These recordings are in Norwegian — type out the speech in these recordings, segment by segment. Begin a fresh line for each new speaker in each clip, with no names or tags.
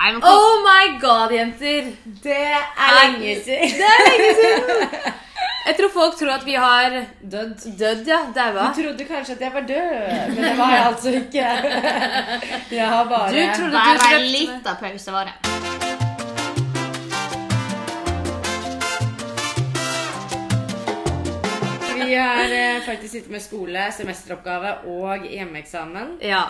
Nei, men kom,
Oh my god, jenter!
Det er
Nei.
lenge siden.
Det er lenge siden! Jeg tror folk tror at vi har dødd. Dødd, ja. Daua.
Jeg trodde kanskje at jeg var død, men det var jeg altså ikke. Jeg har bare
Du trodde-
det er bare
drepte
en
meg.
liten pause, var det.
Vi har eh, faktisk sittet med skole, semesteroppgave og hjemmeeksamen.
Ja.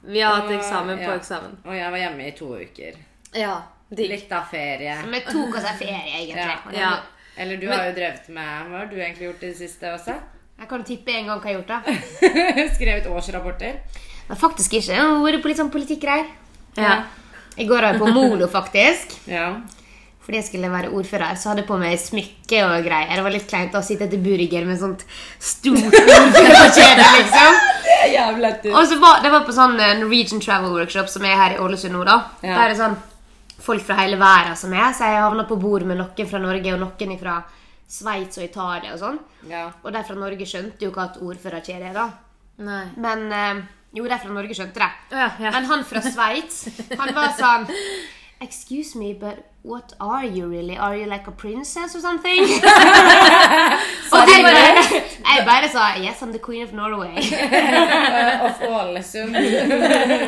Vi har hatt
Og-
eksamen på
ja.
eksamen.
Og jeg var hjemme i to uker.
Ja. Digg.
Litt av ferie.
Vi tok oss en ferie, egentlig.
Ja.
Eller du har jo drevet med Hva har du egentlig gjort i det siste også?
Jeg kan tippe en gang hva jeg har gjort. da
Skrevet årsrapporter.
Men faktisk ikke. Jeg har vært på litt sånn politikkgreier.
Ja.
I går var jeg på Molo, faktisk.
Ja.
Fordi jeg skulle være ordfører, så hadde jeg på meg smykke og greier. Det var litt kleint å sitte etter burger med sånt stort ordførerkjede, liksom.
Det er jævla dumt.
Og så var det var på sånn eh, Norwegian Travel Workshop, som er her i Ålesund nå, da.
Ja.
Der er det sånn folk fra hele verden som er. Så jeg havna på bord med noen fra Norge og noen fra Sveits og Italia og sånn.
Ja.
Og de fra Norge skjønte jo hva et ordførerkjede er, da.
Nei.
Men eh, Jo, de fra Norge skjønte det.
Å, Ja, ja.
Men han fra Sveits, han var sånn Excuse me, but what are you really? Are you like a princess or something? Og jeg bare, jeg bare sa Yes, I'm the queen of Norway.
Of Ålesund.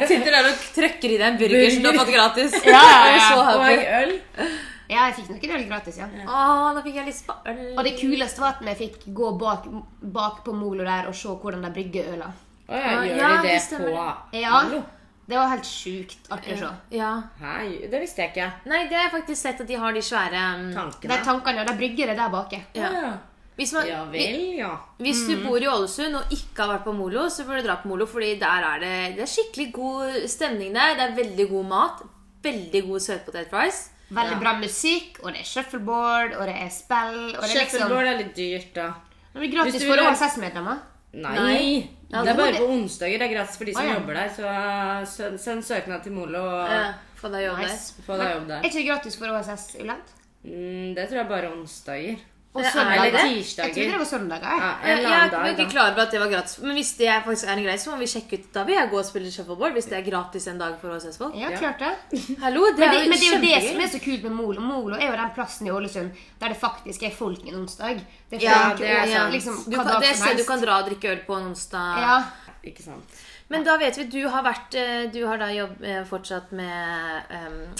Sitter der og trøkker i deg en burger som du har fått gratis.
Ja, ja, ja.
Jeg
Oh
er så happy.
Og øl.
Ja, jeg fikk noen øl gratis, ja.
Åh, da fikk jeg lyst på øl.
Og det kuleste var at vi fikk gå bak, bak på Molo der og se hvordan de brygger øla.
Å ja,
Ah,
gjør
ja,
de det
det
på
stemmer
Ja,
Molo?
Det var helt sjukt artig å se.
Ja.
Hei, det visste jeg ikke.
Nei, det har jeg faktisk sett at de har de svære um,
De
Tankene.
tankene og de bryggene der bake.
ja. Hvis, man,
Ja vel, ja.
hvis
Mm.
du bor i Ålesund og ikke har vært på Molo, så bør du dra på Molo, fordi der er det, det er skikkelig god stemning der. Det er veldig god mat. Veldig god søtpotet rice.
Veldig bra musikk, og det er shuffleboard, og det er spill og det er liksom...
Shuffleboard er litt dyrt, da.
Det blir
Hvis
gratis
du
for
vil-
OSS-medlemmer.
Nei.
Nei.
Det
Ja,
er bare
det-
på onsdager. Det er gratis for de som
Å, ja.
jobber der. Så uh, sø- send søknad til Molo og
Ja, få deg jobb der.
Nice.
få deg jobb
Er
der.
ikke det gratis for OSS Uland?
Mm, det tror jeg bare onsdager.
Og
Det er
søndager?
det.
Jeg trodde det var søndager.
Ja,
jeg.
en
Jeg,
eller
jeg
annen
var ikke
dag, da.
klar over at det var gratis. Men hvis det faktisk er en greie, så må vi sjekke ut. Da vil jeg gå og spille shuffleboard hvis det er gratis en dag for HSS-folk.
Ja,
Ja.
klart det.
Hallo, det
Men
er
det, men det er jo
jo
det som
kjempegøy.
er så kult med Molo. Molo er jo den plassen i Ålesund der det faktisk er folk en onsdag. Det er folk
Ja,
det er
og-
Ja.
liksom,
Du
hva
kan,
dag
det er
som
sted du
helst.
kan dra og drikke øl på en onsdag.
Ja.
Ikke sant.
Men da vet vi, du har vært eh, Du har da jobb, eh, fortsatt med ehm,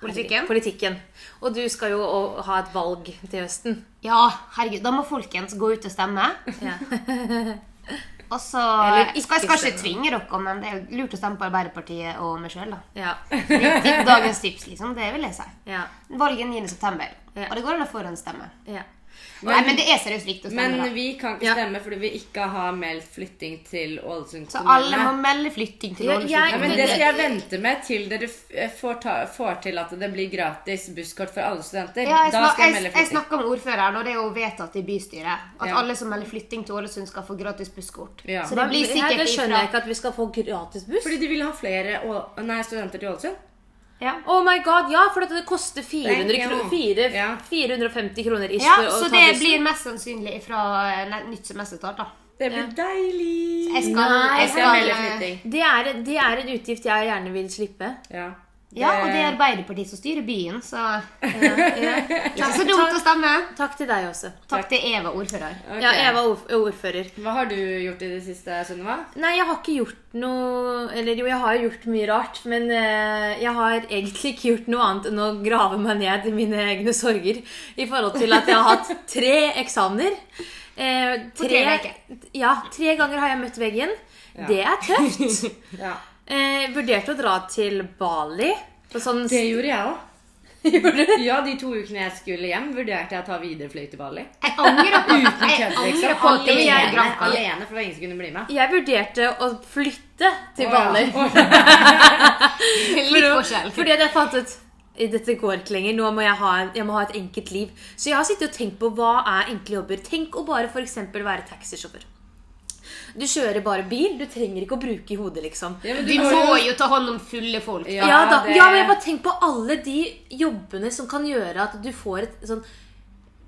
Politikken?
politikken. Og du skal jo å- ha et valg til høsten.
ja, herregud. Da må folkens gå ut og stemme.
Ja.
Og så
Eller
skal, jeg
ikke
skal ikke
stemme.
tvinge dere, men det er jo lurt å stemme på Arbeiderpartiet og meg sjøl, da.
ja,
Litt- litt Dagens tips, liksom. Det vil jeg si.
ja,
Valget 9. september.
Ja.
Og det går an å forhåndsstemme.
ja.
Nei, men det er seriøst viktig å
Men
stemme, da.
vi kan ikke
Ja.
stemme fordi vi ikke har meldt flytting til Ålesund
Så
kommune.
alle må melde flytting til
Ja,
Ålesund.
jeg-
Ja, men
kommune.
Det skal jeg vente med til dere f- eh, får, ta, får til at det blir gratis busskort for alle studenter.
Ja, jeg,
da
snak,
skal
jeg,
jeg
jeg,
melde flytting.
snakker med ordføreren, og det er jo vedtatt i bystyret. At
Ja.
alle som melder flytting til Ålesund, skal få gratis busskort.
Ja.
Så det blir
Her-
sikkert
det skjønner
ifra.
jeg ikke at vi skal få gratis buss.
Fordi de vil ha flere å- nei, studenter til Ålesund.
Ja.
Oh my god, Ja, for at det koster 400
Thank you.
kro fire,
Ja.
450 kroner ish
ja,
for å
så
ta
det
bussen.
blir mest sannsynlig fra nytt semesterstart, da.
Det blir deilig!
Jeg skal,
Nei,
jeg
Jeg skal
skal
melde flytting.
det, er, det er en utgift jeg gjerne vil slippe.
Ja.
Ja, og det er Arbeiderpartiet som styrer byen, så Ikke så dumt å
Takk,
stemme.
takk til deg også.
Takk til Eva, ordfører.
Ok.
Ja, Eva er ordf- ordfører.
Hva har du gjort i det siste, Sunniva?
Nei, jeg har ikke gjort noe Eller jo, jeg har gjort mye rart, men eh, jeg har egentlig ikke gjort noe annet enn å grave meg ned i mine egne sorger i forhold til at jeg har hatt tre eksamener. Eh,
På tre veker.
Ja, tre ganger har jeg møtt veggen. Det er tøft.
Ja.
Eh, vurderte å dra til Bali. På sånn
Det gjorde jeg òg. Gjorde du? Ja, De to ukene jeg skulle hjem, vurderte jeg å ta viderefløy til Bali.
Jeg angrer på jeg
Kødder,
angrer
liksom.
på at Eh, jeg
Alene,
er Granka.
alene, for det var ingen som kunne bli med.
Jeg vurderte å flytte til
Å,
Bali.
ja. Å, ja.
Litt forskjell.
Fordi at jeg fant ut dette går ikke lenger. Nå må jeg, ha, jeg må ha et enkelt liv. Så jeg har sittet og tenkt på hva er enkle jobber. Tenk å bare for eksempel være taxisjåfør. Du kjører bare bil. Du trenger ikke å bruke i hodet, liksom.
Ja, men
Du
går
må
jo-
jo ta hånd om fulle folk.
Ja,
Ja, da,
det-
ja, men jeg bare tenk på alle de jobbene som kan gjøre at du får et sånn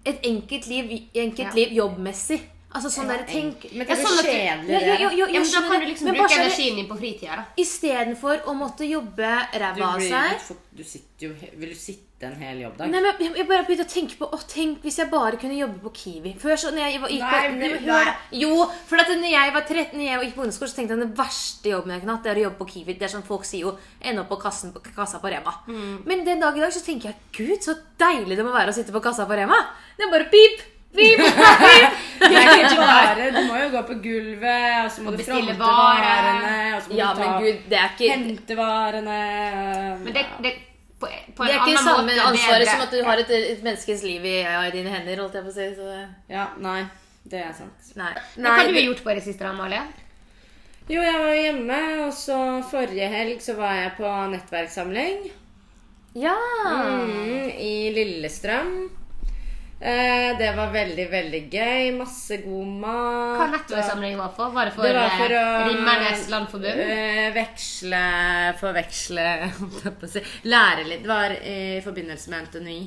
et enkelt liv, enkelt
Ja.
liv jobbmessig. Altså sånn der, tenk
Men det
Ja,
blir
sånn at-
kjedeligere.
Ja, jo, jo,
Ja,
jo,
men
jeg
da
skjønner
kan
det.
du liksom
Men
bruke
bare så det-
energien din på fritida, da.
Istedenfor å måtte jobbe
Du,
ræva av
blir,
seg
jo for- du sitter jo he- Vil du sitte en hel jobbdag?
Nei, men jeg, jeg bare begynte å tenke på Å, tenk hvis jeg bare kunne jobbe på Kiwi. Før så, når jeg var- gikk
Nei,
på,
men-
Jo, hør da. Jo, for at når jeg var 13 når jeg var- gikk på ungdomsskolen, så tenkte jeg at den verste jobben jeg kunne hatt, det er å jobbe på Kiwi. Det er sånn folk sier jo Ende opp på kassen, på kassa på Rema. Men den dag i dag så tenker jeg Gud, så deilig det må være å sitte på kassa på Rema. Det er bare pip, pip, pip.
Det er ikke bare, du må jo gå på gulvet, og så må du
bestille
fronte
varer.
varene. Og så må
Ja,
du ta,
men gud, det er ikke
hente varene.
Men det, det på, på en
det er
annen
ikke samme
måte
ansvaret
bedre.
som at du har et, et menneskes liv i, i dine hender. holdt jeg på å si. Så, det-
Ja, nei, det er sant.
nei.
Hva har
Nei,
du
det-
gjort på det siste, Amalie?
Jo, jeg var jo hjemme, og så forrige helg så var jeg på nettverkssamling
Ja.
mm, i Lillestrøm. Eh, det var veldig, veldig gøy. Masse god mat.
Hva nettverkssamling var for? Var det for,
Det var for å
eh, Rimmernes Landforbund?
eh, veksle Forveksle holdt jeg på å si. Lære litt. Det var i forbindelse med NTNU.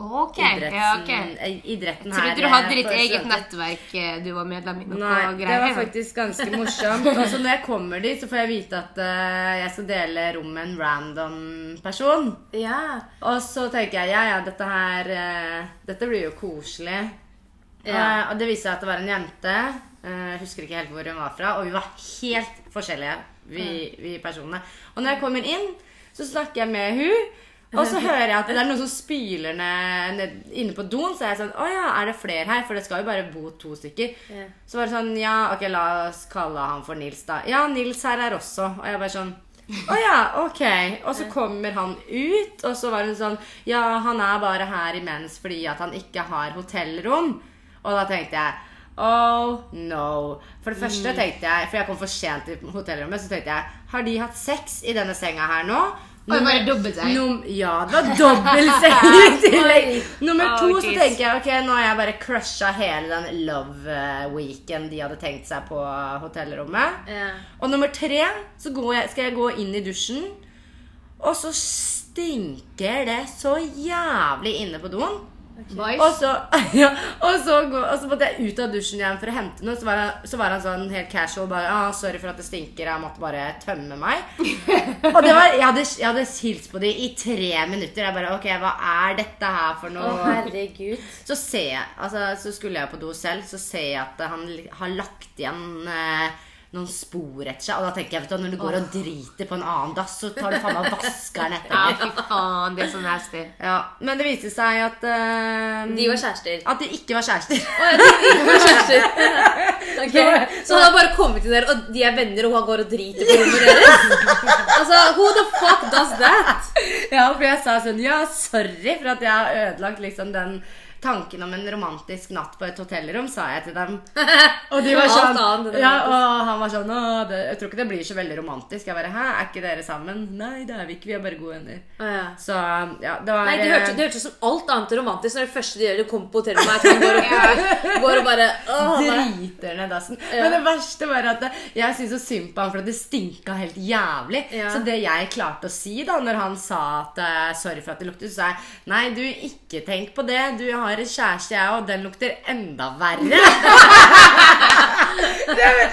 Ok,
Idretten,
ja, ok.
eh, idretten her.
Trodde du
eh,
hadde ditt
for
eget
studenter.
nettverk eh, du var medlem i? noe
Nei, det
greier,
var
ja.
faktisk ganske morsomt. Og så når jeg kommer dit, så får jeg vite at eh, jeg skal dele rom med en random person.
ja.
Og så tenker jeg ja, ja, dette her eh, Dette blir jo koselig.
Ja.
Eh, og det viser seg at det var en jente. eh, Jeg husker ikke helt hvor hun var fra. Og vi var helt forskjellige, vi, vi personene. Og når jeg kommer inn, så snakker jeg med hun. Og så hører jeg at det er noen som spyler ned, ned inne på doen. Så er jeg sånn Å ja, er det flere her? For det skal jo bare bo to stykker.
Ja.
Så var det sånn Ja, ok, la oss kalle han for Nils, da. Ja, Nils her er også. Og jeg bare sånn å ja, ok. Og så kommer han ut, og så var hun sånn Ja, han er bare her imens fordi at han ikke har hotellrom. Og da tenkte jeg Oh no. For det
Mm.
første tenkte jeg For jeg kom for sent til hotellrommet, så tenkte jeg Har de hatt sex i denne senga her nå?
Oi, var det
Nummer-
dobbeltseng?
Num ja, det var dobbeltseng i tillegg. Nummer
Å,
to så
Gud.
tenker jeg ok, nå har jeg bare crusha hele den love eh, weekend de hadde tenkt seg på hotellrommet.
Ja.
Og nummer tre, så går jeg, skal jeg gå inn i dusjen, og så stinker det så jævlig inne på doen.
Boys?
Og så, ja, og, så går, og så måtte jeg ut av dusjen igjen for å hente noe. Så var han, så var han sånn helt casual. bare, ah, 'Sorry for at det stinker. Jeg måtte bare tømme meg.' og det var, jeg hadde, jeg hadde hilst på dem i tre minutter. Jeg bare 'Ok, hva er dette her for
Å,
noe?'
herregud.
Så ser jeg, altså så skulle jeg på do selv, så ser jeg at han li- har lagt igjen eh, noen spor etter seg. Og da tenker jeg, vet du, når du går og driter på en annen dass, så tar du faen meg og vasker den
Ja,
etter deg.
fy faen, det er sånn så nasty.
Ja, men det viste seg at eh,
De var kjærester.
At de ikke var kjærester.
De var kjærester. Ok, Så han har bare kommet inn der, og de er venner, og han går og driter på rommet deres? Altså, who the fuck does that?
ja, for jeg sa sånn Ja, sorry for at jeg har ødelagt liksom den tanken om en romantisk natt på et hotellrom, sa jeg til dem. Og de var
Alt
sånn
annet enn
Ja, og han var sånn Å, det, jeg tror ikke det blir så veldig romantisk. Jeg bare Hæ, er ikke dere sammen? Nei, det er vi ikke. Vi er bare gode venner.
Å, ja.
Så ja, det var eh,
Nei, Det hørtes det hørtes ut som alt annet romantisk når det første de gjør, de kommer på hotellet med at han går og, går og bare åh, nei.
Driter ned dassen. Men det verste var at det- jeg syntes så synd på han, for at det stinka helt jævlig.
Ja.
Så det jeg klarte å si da når han sa at eh, 'sorry for at det lukter', så sa jeg 'nei, du, ikke tenk på det. Du har en kjæreste, jeg og den lukter enda verre'.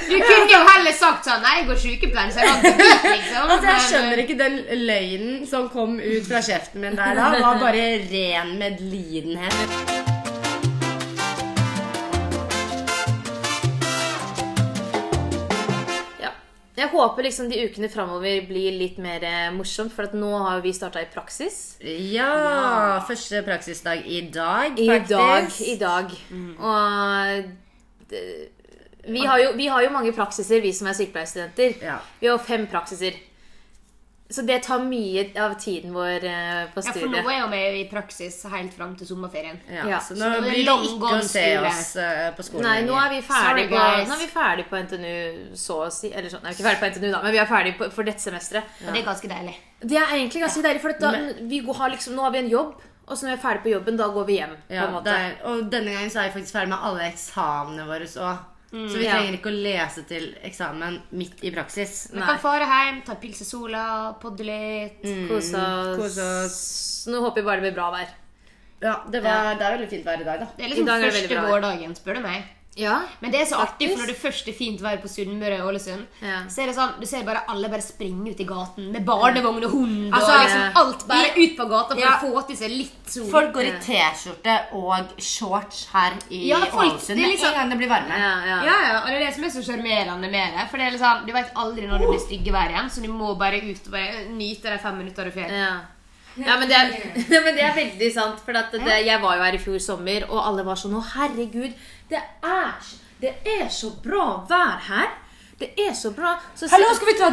Du kunne jo heller sagt sånn Nei, jeg går sykepleien, så jeg vant dit, liksom.
altså, jeg skjønner ikke den løgnen som kom ut fra kjeften min der da. Det var bare ren medlidenhet.
Ja. Jeg håper liksom de ukene framover blir litt mer eh, morsomt, for at nå har vi starta i praksis.
Ja, første praksisdag i dag,
I
faktisk.
dag. I dag. Og det- vi har, jo, vi har jo mange praksiser, vi som er sykepleierstudenter.
Ja.
Vi har jo fem praksiser. Så det tar mye av tiden vår eh, på
Ja, for nå
studiet.
er jeg jo med i praksis helt fram til sommerferien.
Ja,
Ja,
så
så
nå
nå er det
blir det ikke å
langgående
se
skole.
oss eh, på skolen
Nei, nå er vi ferdig
Sorry,
på,
guys.
nå er vi ferdig på NTNU, så å si. Eller sånn, nei, vi er ikke ferdig på NTNU, da, men vi er ferdig på, for dette semesteret.
Og det er ganske deilig.
Det er egentlig ganske deilig, for at da, vi går- har liksom, nå har vi en jobb, og så når vi er ferdig på jobben, da går vi hjem.
ja,
på en måte.
der, Og denne gangen så er vi faktisk ferdig med alle eksamene våre òg. så vi
ja.
trenger ikke å lese til eksamen midt i praksis.
Vi kan fare hjem, ta en pils i sola, podde litt.
Mm. Kose oss.
kose
Nå håper vi bare det blir bra vær.
Ja, det, var, det er veldig fint vær i dag, da.
Det er liksom
I dag er det veldig
første
bra.
vårdagen, spør du meg.
Ja.
Men det er så artig, for
Faktisk.
når det først er fint vær på Sunnmøre og Ålesund,
Ja.
så er det sånn, du ser bare alle bare springe ut i gaten med barnevogn og hund
Altså,
og liksom alt bare ut på gata for
Ja.
å få til seg litt sol.
Folk går i T-skjorte og shorts her i
Ja, folk- det
Ålesund
er
med
liksom-
en gang det blir varme.
Ja, ja.
Ja, ja, og det er det som er så sjarmerende med det. For det er liksom, Du vet aldri når det blir stygge vær igjen, så du må bare ut og bare nyte de fem minuttene du får.
Ja. Ja, men det, er, Nei, men det er veldig sant. For at det, jeg var jo her i fjor sommer, og alle var sånn Å, herregud, det er, s- det er så bra vær her. Det er så bra. Så,
Hallo, skal vi ta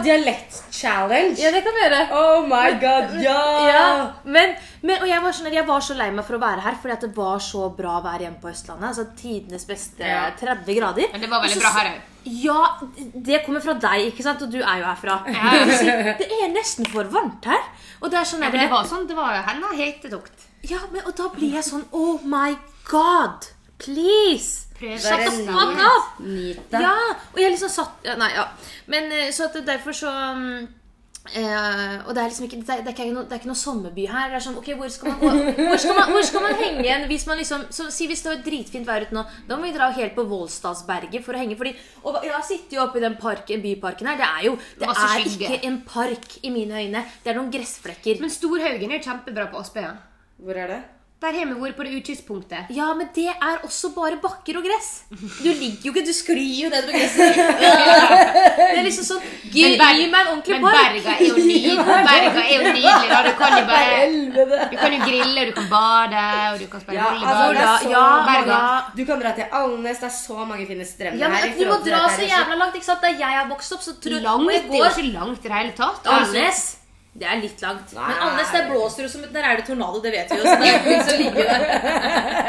dialekt-challenge?
Ja, det kan vi gjøre.
Oh my god, ja!
Ja, men, men, og jeg var, sånn, jeg var så lei meg for å være her, fordi at det var så bra vær hjemme på Østlandet. Altså Tidenes beste
Ja.
30 grader.
Men det var veldig
Og så-
bra her òg.
Ja, det kommer fra deg, ikke sant? Og du er jo herfra.
Ja.
Det vil si, Det er nesten for varmt her. Og det er sånn
Ja,
jeg
men det
ble,
var sånn, det var henne hete tokt.
ja, men, og da blir jeg sånn Oh my god! Please!
Prøv
Shut the
resten.
fuck up!
Nyt det.
Ja, og jeg liksom satt ja, Nei, ja. Men eh, så at det- derfor så mm, eh, og det er liksom ikke, det er, det, er ikke noe, det er ikke noe sommerby her. Det er sånn, ok, Hvor skal man, gå- hvor skal man, hvor skal man henge igjen? Hvis man liksom, så Si hvis det var dritfint vær ute nå, da må vi dra helt på Voldsdagsberget for å henge. Fordi, og Jeg sitter jo oppe i den parken, byparken her. Det er jo det
Masse
er
skygge.
ikke en park i mine øyne. Det er noen gressflekker.
Men Storhaugen er jo kjempebra på Aspøya.
Hvor er det?
Der har vi vært på det utkystpunktet.
Ja, men det er også bare bakker og gress. Du ligger jo ikke, du sklir jo nedover gresset. Det er liksom sånn Gi,
Men Berg-
gi meg en ordentlig
Men
park.
Berga er jo nydelig. Berga er jo nydelig da. Du kan jo bare
Helvete!
Du kan jo grille, og du kan bade, og du kan spille
Ja, altså,
volleyball.
det er så
Ja,
Berga.
Du kan dra til Alnes, det er så mange fine strender
Ja, men
her. i
Du må
forhold til
dra så
dette her.
jævla langt. ikke sant? Der jeg er vokst opp, så tror
langt,
og jeg
det er jo
går
ikke langt i det hele tatt.
Alnes. Det er litt langt. Men
Nei.
Alnes, der blåser det som Der er det tornado, det vet vi jo. Så det er liksom ligger der.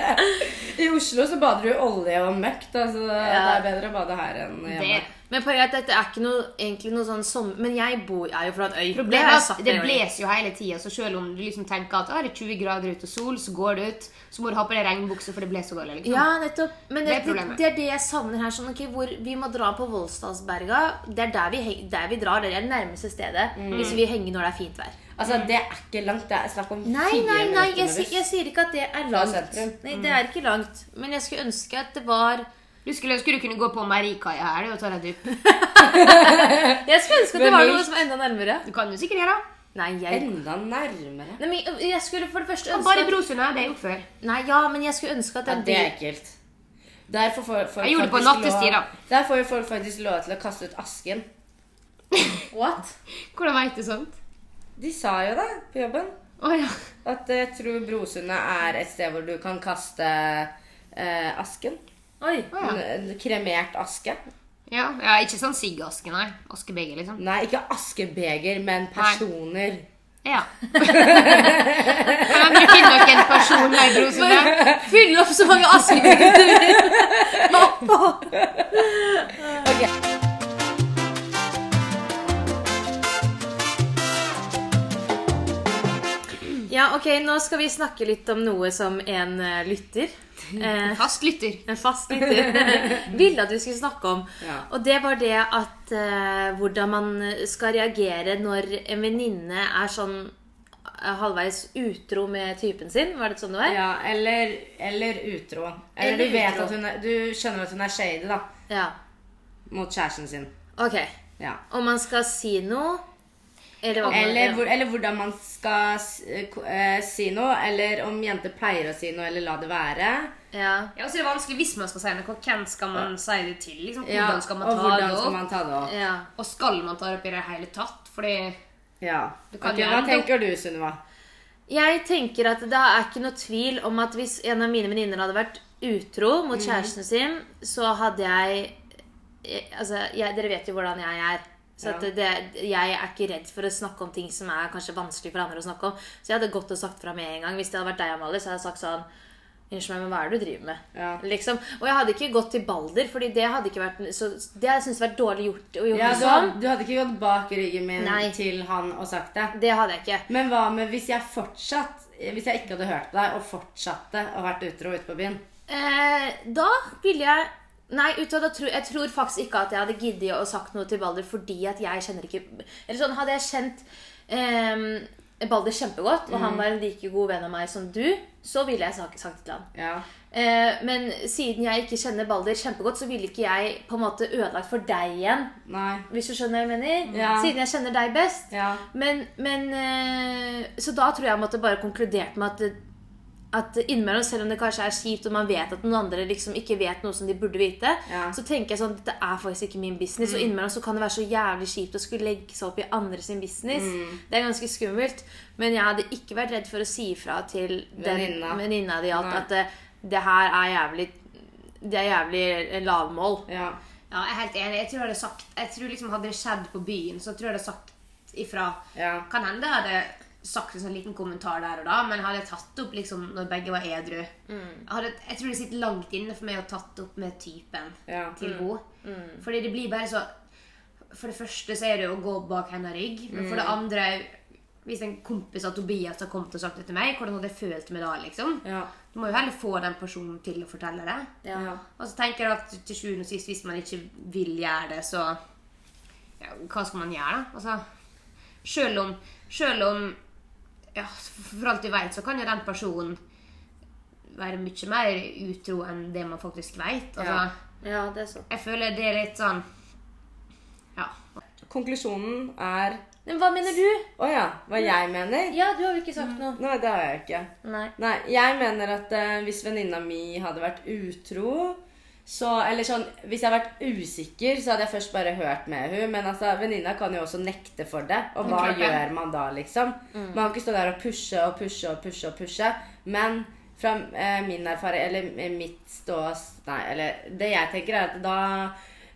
I Oslo så bader du i olje og møkk, da, så det
Ja.
er bedre å bade her enn hjemme.
Det,
Men poenget er at dette er ikke noe, egentlig noe sånn som Men jeg bor, er jo fra en øy.
problemet
har
er
jeg
at
sagt
det
flere ganger.
blåser jo hele tida, så selv om du liksom tenker at «Å, det er 20 grader ute og sol, så går det ut, så må du ha på deg regnbukse, for det blåser så galt. Liksom.
Ja, nettopp. Men
Det
det,
er
det,
problemet.
det er det jeg savner her. Sånn, ok, hvor vi må dra på Voldsdalsberga. Det er der vi, heng- der vi drar. Det er det nærmeste stedet. Hvis vi vil henge når det er fint vær.
Altså, det er ikke langt. Det er snakk om
Nei,
fire
nei, nei,
minutter
jeg,
med
si-
buss.
jeg sier ikke at det er
Fra
langt.
sentrum.
Nei, det er ikke langt. Men jeg skulle ønske at det var
Du skulle ønske du kunne gå på Meierikaia her det er jo å ta deg et dupp.
Jeg skulle ønske at det
Men
var noe
mildt.
som var enda nærmere.
Du kan jo sikkert gjøre det.
Nei, jeg...
Enda nærmere.
Nei, men jeg skulle for det første
Og Bare i
ønske at...
Brosund, ja, det er gjort før.
Nei, ja, men jeg skulle ønske at
Ja,
den
det er
by-
ekkelt. Der får folk, folk
Jeg gjorde det på
faktisk
nattestid,
lov-
da.
Der får jo folk faktisk lov til å kaste ut asken.
What?
Hvordan veit du sånt?
De sa jo det på jobben.
Å ja.
At eh, jeg tror Brosundet er et sted hvor du kan kaste eh, asken.
Oi.
Å, ja.
N- Kremert aske.
ja. ja. Ikke sånn siggaske, nei. Askebeger, liksom.
Nei, ikke askebeger, men personer.
Ja. Kan jeg finne noen personer i Brosund? da?
Bare fyll opp så mange askebeger du vil. Oppå. Ja, ok, nå skal vi snakke litt om noe som en eh, lytter eh,
Fast lytter.
En fast lytter ville at vi skulle snakke om.
Ja.
Og det var det at eh, hvordan man skal reagere når en venninne er sånn eh, halvveis utro med typen sin. Var det sånn det var?
Ja, eller, eller utro. Eller,
Eller
du vet
utro.
at hun er, Du skjønner at hun er shady, da.
ja.
Mot kjæresten sin.
Ok.
Ja.
Om man skal si noe Eller hva man
Eller, hvor, eller hvordan man skal s- eh, ko- eh, si noe, eller om jenter pleier å si noe, eller la det være.
ja.
Ja, og så er det vanskelig hvis man skal si noe. Hvem skal man si det til? Liksom,
Ja,
hvordan skal man
og
ta det
hvordan
opp?
skal man ta det opp?
ja.
Og skal man ta det opp i det hele tatt? Fordi
Ja.
Du kan
Ok, hva
gjerne-
tenker du, Sunniva?
Jeg tenker at det er ikke noe tvil om at hvis en av mine venninner hadde vært utro mot
Mm.
kjæresten sin, så hadde jeg eh, Altså, jeg, dere vet jo hvordan jeg er. Så at
Ja.
det, Jeg er ikke redd for å snakke om ting som er kanskje vanskelig for andre å snakke om. Så jeg hadde gått og sagt fra med en gang. Hvis det hadde vært deg, Amalie, så hadde jeg sagt sånn Unnskyld meg, men hva er det du driver med?
Ja.
Liksom. Og jeg hadde ikke gått til Balder, Fordi det hadde ikke vært så, Det hadde jeg syntes vært dårlig gjort. å gjøre
Ja,
det
du,
sånn.
had- du hadde ikke gått bak ryggen min
Nei.
til han og sagt det.
Det hadde jeg ikke.
Men hva med hvis jeg fortsatt Hvis jeg ikke hadde hørt på deg og fortsatte å vært utro ute på byen?
Eh, da ville jeg Nei, vet du hva, da tror, jeg tror faktisk ikke at jeg hadde giddet å sagt noe til Balder fordi at jeg kjenner ikke Eller sånn, hadde jeg kjent eh, Balder kjempegodt, og
Mm.
han var en like god venn av meg som du, så ville jeg sagt, sagt til han.
Ja.
Eh, men siden jeg ikke kjenner Balder kjempegodt, så ville ikke jeg på en måte ødelagt for deg igjen.
Nei.
Hvis du skjønner hva jeg mener?
Ja.
Siden jeg kjenner deg best.
Ja.
Men, men eh, Så da tror jeg jeg måtte bare konkludert med at at innimellom, selv om det kanskje er kjipt og man vet at noen andre liksom ikke vet noe som de burde vite,
Ja. Mm.
så tenker jeg sånn dette er faktisk ikke min business. Og innimellom så kan det være så jævlig kjipt å skulle legge seg opp i andre sin business.
Mm.
Det er ganske skummelt. Men jeg hadde ikke vært redd for å si ifra til den
Venninna.
venninna di alt
Nei.
at det, det her er jævlig Det er jævlig eh, lavmål.
Ja.
Ja, jeg er helt enig. Jeg tror jeg hadde sagt Jeg tror liksom Hadde det skjedd på byen, så tror jeg jeg hadde sagt ifra.
Ja.
Kan hende jeg hadde sagt en sånn liten kommentar der og da, men hadde jeg tatt opp liksom når begge var edru
Mm.
hadde, Jeg tror det sitter langt inne for meg å tatt opp med typen
Ja.
til henne.
Mm.
Fordi det blir bare så For det første så er det jo å gå bak hennes rygg, men for det andre hvis en kompis av Tobias har kommet og sagt det til meg, hvordan hadde jeg følt meg da? liksom?
Ja.
Du må jo heller få den personen til å fortelle det.
Ja.
Og så tenker jeg at til sjuende og sist, hvis man ikke vil gjøre det, så ja, Hva skal man gjøre, da? Altså, selv om, selv om ja, For alt vi vet, så kan jo den personen være mye mer utro enn det man faktisk vet. Altså,
Ja.
Ja, det er sånn.
Jeg føler det er litt sånn Ja.
Konklusjonen er
Men hva mener du?
Å ja, hva jeg mener?
Ja, du har jo ikke sagt noe.
Nei, det har jeg ikke.
Nei.
Nei, jeg mener at eh, hvis venninna mi hadde vært utro så, eller sånn, Hvis jeg hadde vært usikker, så hadde jeg først bare hørt med hun Men altså, venninna kan jo også nekte for det, og hva
klart det.
gjør man da, liksom? Man kan ikke stå der og pushe og pushe og pushe og pushe. Men fra eh, min erfaring, eller eh, mitt stås Nei, eller det jeg tenker, er at da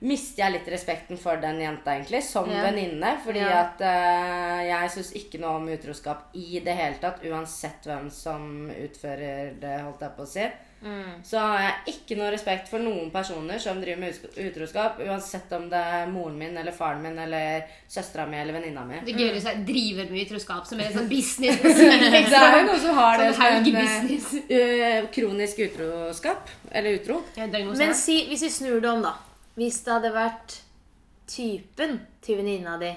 mister jeg litt respekten for den jenta, egentlig, som
Ja.
venninne. Fordi
Ja.
at eh, jeg syns ikke noe om utroskap i det hele tatt, uansett hvem som utfører det, holdt jeg på å si.
Mm.
Så har jeg ikke noe respekt for noen personer som driver med utsk- utroskap, uansett om det er moren min eller faren min eller søstera mi eller venninna mi.
Det er gøy hvis jeg driver med utroskap som er litt sånn business. på siden,
Det er jo
liksom.
noen som har det
Sånn
som
haugebusiness.
eh, ø, kronisk utroskap. Eller utro.
Ja, diagnose.
Men si, hvis vi snur det om, da. Hvis det hadde vært typen til venninna di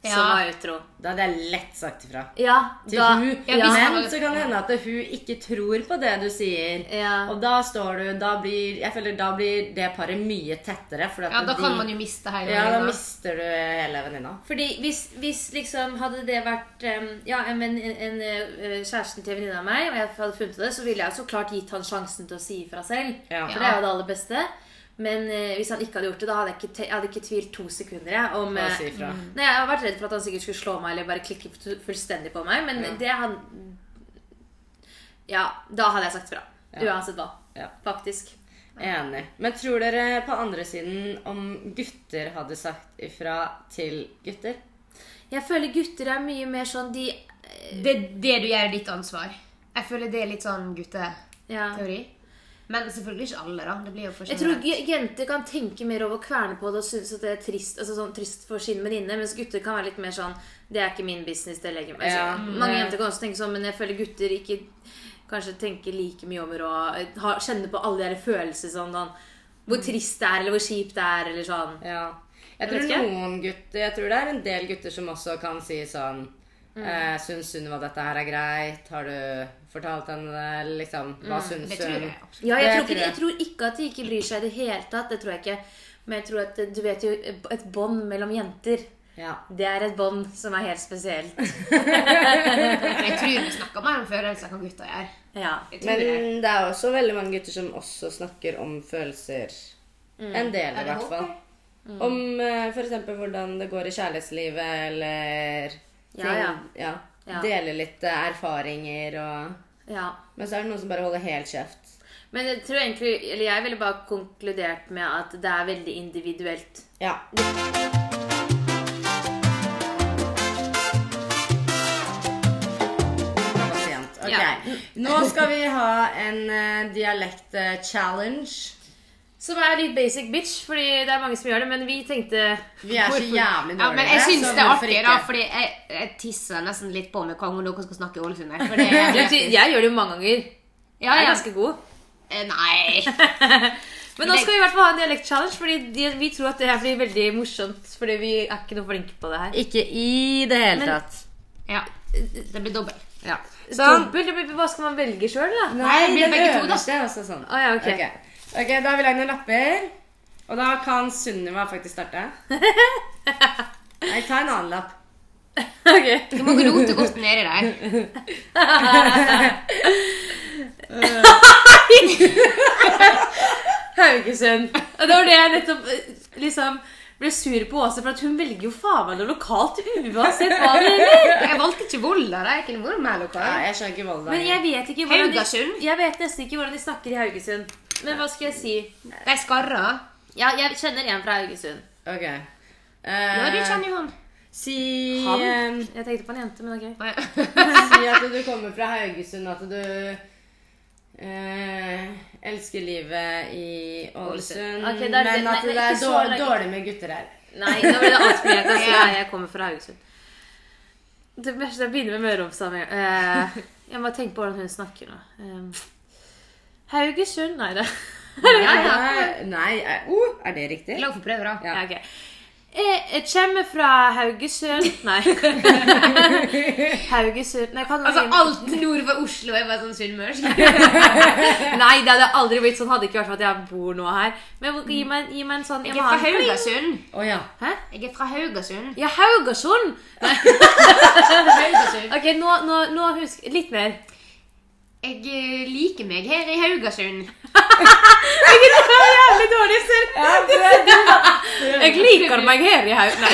som
Ja.
var utro
Da hadde jeg lett sagt ifra.
Ja,
Til
da
hun.
Ja,
ja,
hvis-
Men så kan det hende at hun ikke tror på det du sier.
Ja.
Og da står du da blir, Jeg føler da blir det paret mye tettere. For at
ja, da
de-
kan man jo miste hele
Ja, da
øynene.
mister du hele venninna.
Fordi hvis, hvis liksom hadde det vært em, Ja, en, venn- en, en eh, kjæresten til venninna av meg, og jeg hadde funnet det, så ville jeg jo så klart gitt han sjansen til å si ifra selv.
Ja.
For det er jo det aller beste. Men eh, hvis han ikke hadde gjort det, da hadde jeg ikke, te jeg hadde ikke tvilt to sekunder jeg, om
Å
eh,
si ifra.
Nei, Jeg har vært redd for at han sikkert skulle slå meg eller bare klikke fu- fullstendig på meg, men det han Ja, da hadde jeg sagt fra. Uansett hva.
Ja.
Faktisk.
Enig. Men tror dere på andre siden om gutter hadde sagt ifra til gutter?
Jeg føler gutter er mye mer sånn de eh,
Det, det du gjør, er ditt ansvar. Jeg føler det er litt sånn gutteteori.
Ja.
Men selvfølgelig ikke alle, da. Det blir jo
Jeg tror
forskjellig.
j- jenter kan tenke mer over å kverne på det og synes at det er trist, altså sånn, trist for sin venninne, mens gutter kan være litt mer sånn Det er ikke min business, det legger jeg meg
Ja.
altså, Mange jenter kan også tenke sånn, men jeg føler gutter ikke kanskje tenker like mye over å eh, ha, kjenne på alle de her følelser sånn, sånn Hvor trist det er, eller hvor kjipt det er, eller sånn.
Ja. Jeg
Jeg
tror
vet ikke.
noen gutter Jeg tror det er en del gutter som også kan si sånn
Mm.
eh, Syns Sunniva dette her er greit? Har du fortalt henne det? Liksom, hva syns
Mm, Det
hun?
tror jeg absolutt.
Ja, jeg,
Det
tror ikke,
tror jeg.
jeg tror ikke at de ikke bryr seg i det hele tatt. Det tror jeg ikke. Men jeg tror at eh, du vet jo et bånd mellom jenter.
Ja.
Det er et bånd som er helt spesielt.
Jeg tror vi snakker mer om følelser enn gutter gjør.
Ja.
Jeg tror
Men
det.
det er også veldig mange gutter som også snakker om følelser. En
Ja, Mm. det
del, i hvert
håper
fall.
jeg. Mm.
Om eh, for f.eks. hvordan det går i kjærlighetslivet, eller
Ja,
ting-
ja.
ja.
Ja.
Dele litt eh, erfaringer og
ja.
Men så er det noen som bare holder helt kjeft.
Men jeg tror egentlig, eller jeg ville bare konkludert med at det er veldig individuelt.
Ja. Pasient. Ok.
Ja.
Nå skal vi ha en eh, dialekt-challenge.
Som er litt basic bitch, fordi det er mange som gjør det, men vi tenkte
Vi er så jævlig dårlige.
Ja, men jeg
så
syns det er
hvorfor
artig,
ikke?
da, fordi jeg, jeg tisser nesten litt på meg hver gang dere skal snakke Ålesund. her, For det er
Jeg, jeg gjør det jo mange ganger.
Ja,
Jeg
ja.
er ganske god.
Eh, Nei.
Men nå skal vi i hvert fall ha en dialekt-challenge, fordi de, vi tror at det her blir veldig morsomt. Fordi vi er ikke noe flinke på det her.
Ikke i det hele
Men-
tatt.
Ja. Det blir dobbel.
Ja. Sånn.
Dobbel? det blir- Hva skal man velge sjøl, da?
Nei, det blir begge to, da.
øverste er også sånn.
Å, ja, ok.
ok, Da har vi lagd noen lapper. Og da kan Sunniva faktisk starte. Nei, ta en annen lapp.
Ok.
Du må gnote godt nedi der.
Haugesund. Og Det var det jeg nettopp eh, liksom ble sur på Åse, for at hun velger jo faen meg noe lokalt uansett hva det gjelder.
Jeg valgte ikke Volda. da. Jeg kunne vært mer
Ja,
lokal.
jeg skjønner ikke Volda.
Men jeg vet ikke hvordan de,
Haugasund?
Jeg vet nesten ikke hvordan de snakker i Haugesund. Men hva skal jeg si?
De skarra.
Ja, jeg kjenner en fra Haugesund.
Ok. Eh,
Ja, du kjenner jo han.
Si,
Han?
eh,
Jeg tenkte på en jente, men ok.
si at du kommer fra Haugesund, at du eh, elsker livet i Ålesund,
Ok, da er det-
men at
nei,
det
nei,
er
ikke så
dårlig,
langt.
dårlig med gutter her.
Nei, da blir det altfor mye. Altså, jeg, jeg kommer fra Haugesund. Det beste jeg begynner med Møre og Romsdal. med en gang. Eh, jeg må tenke på hvordan hun snakker nå. Eh, Haugesund Nei, det
Ja, ja.
Nei, eh, nei er, oh, er det riktig?
La henne få prøve, da.
Ja.
ja, ok. Jeg, jeg kommer fra Haugesund Nei. Haugesund Nei, kan du
Altså, alt nord for Oslo er bare sånn sunnmørsk.
Nei, det hadde aldri blitt sånn. Hadde ikke vært for at jeg bor nå her. Men hvor- gi meg, gi meg en sånn jeg
Jeg er
må
fra
ha en-
Haugasund.
Å ja.
Hæ?
Jeg er fra Haugasund.
Ja, Haugesund!
Haugasund.
Ok, nå, nå, nå husk Litt mer.
Jeg eh, liker meg her i Haugasund.
Det var jævlig dårlig selv. Jeg liker meg her i haug... Nei.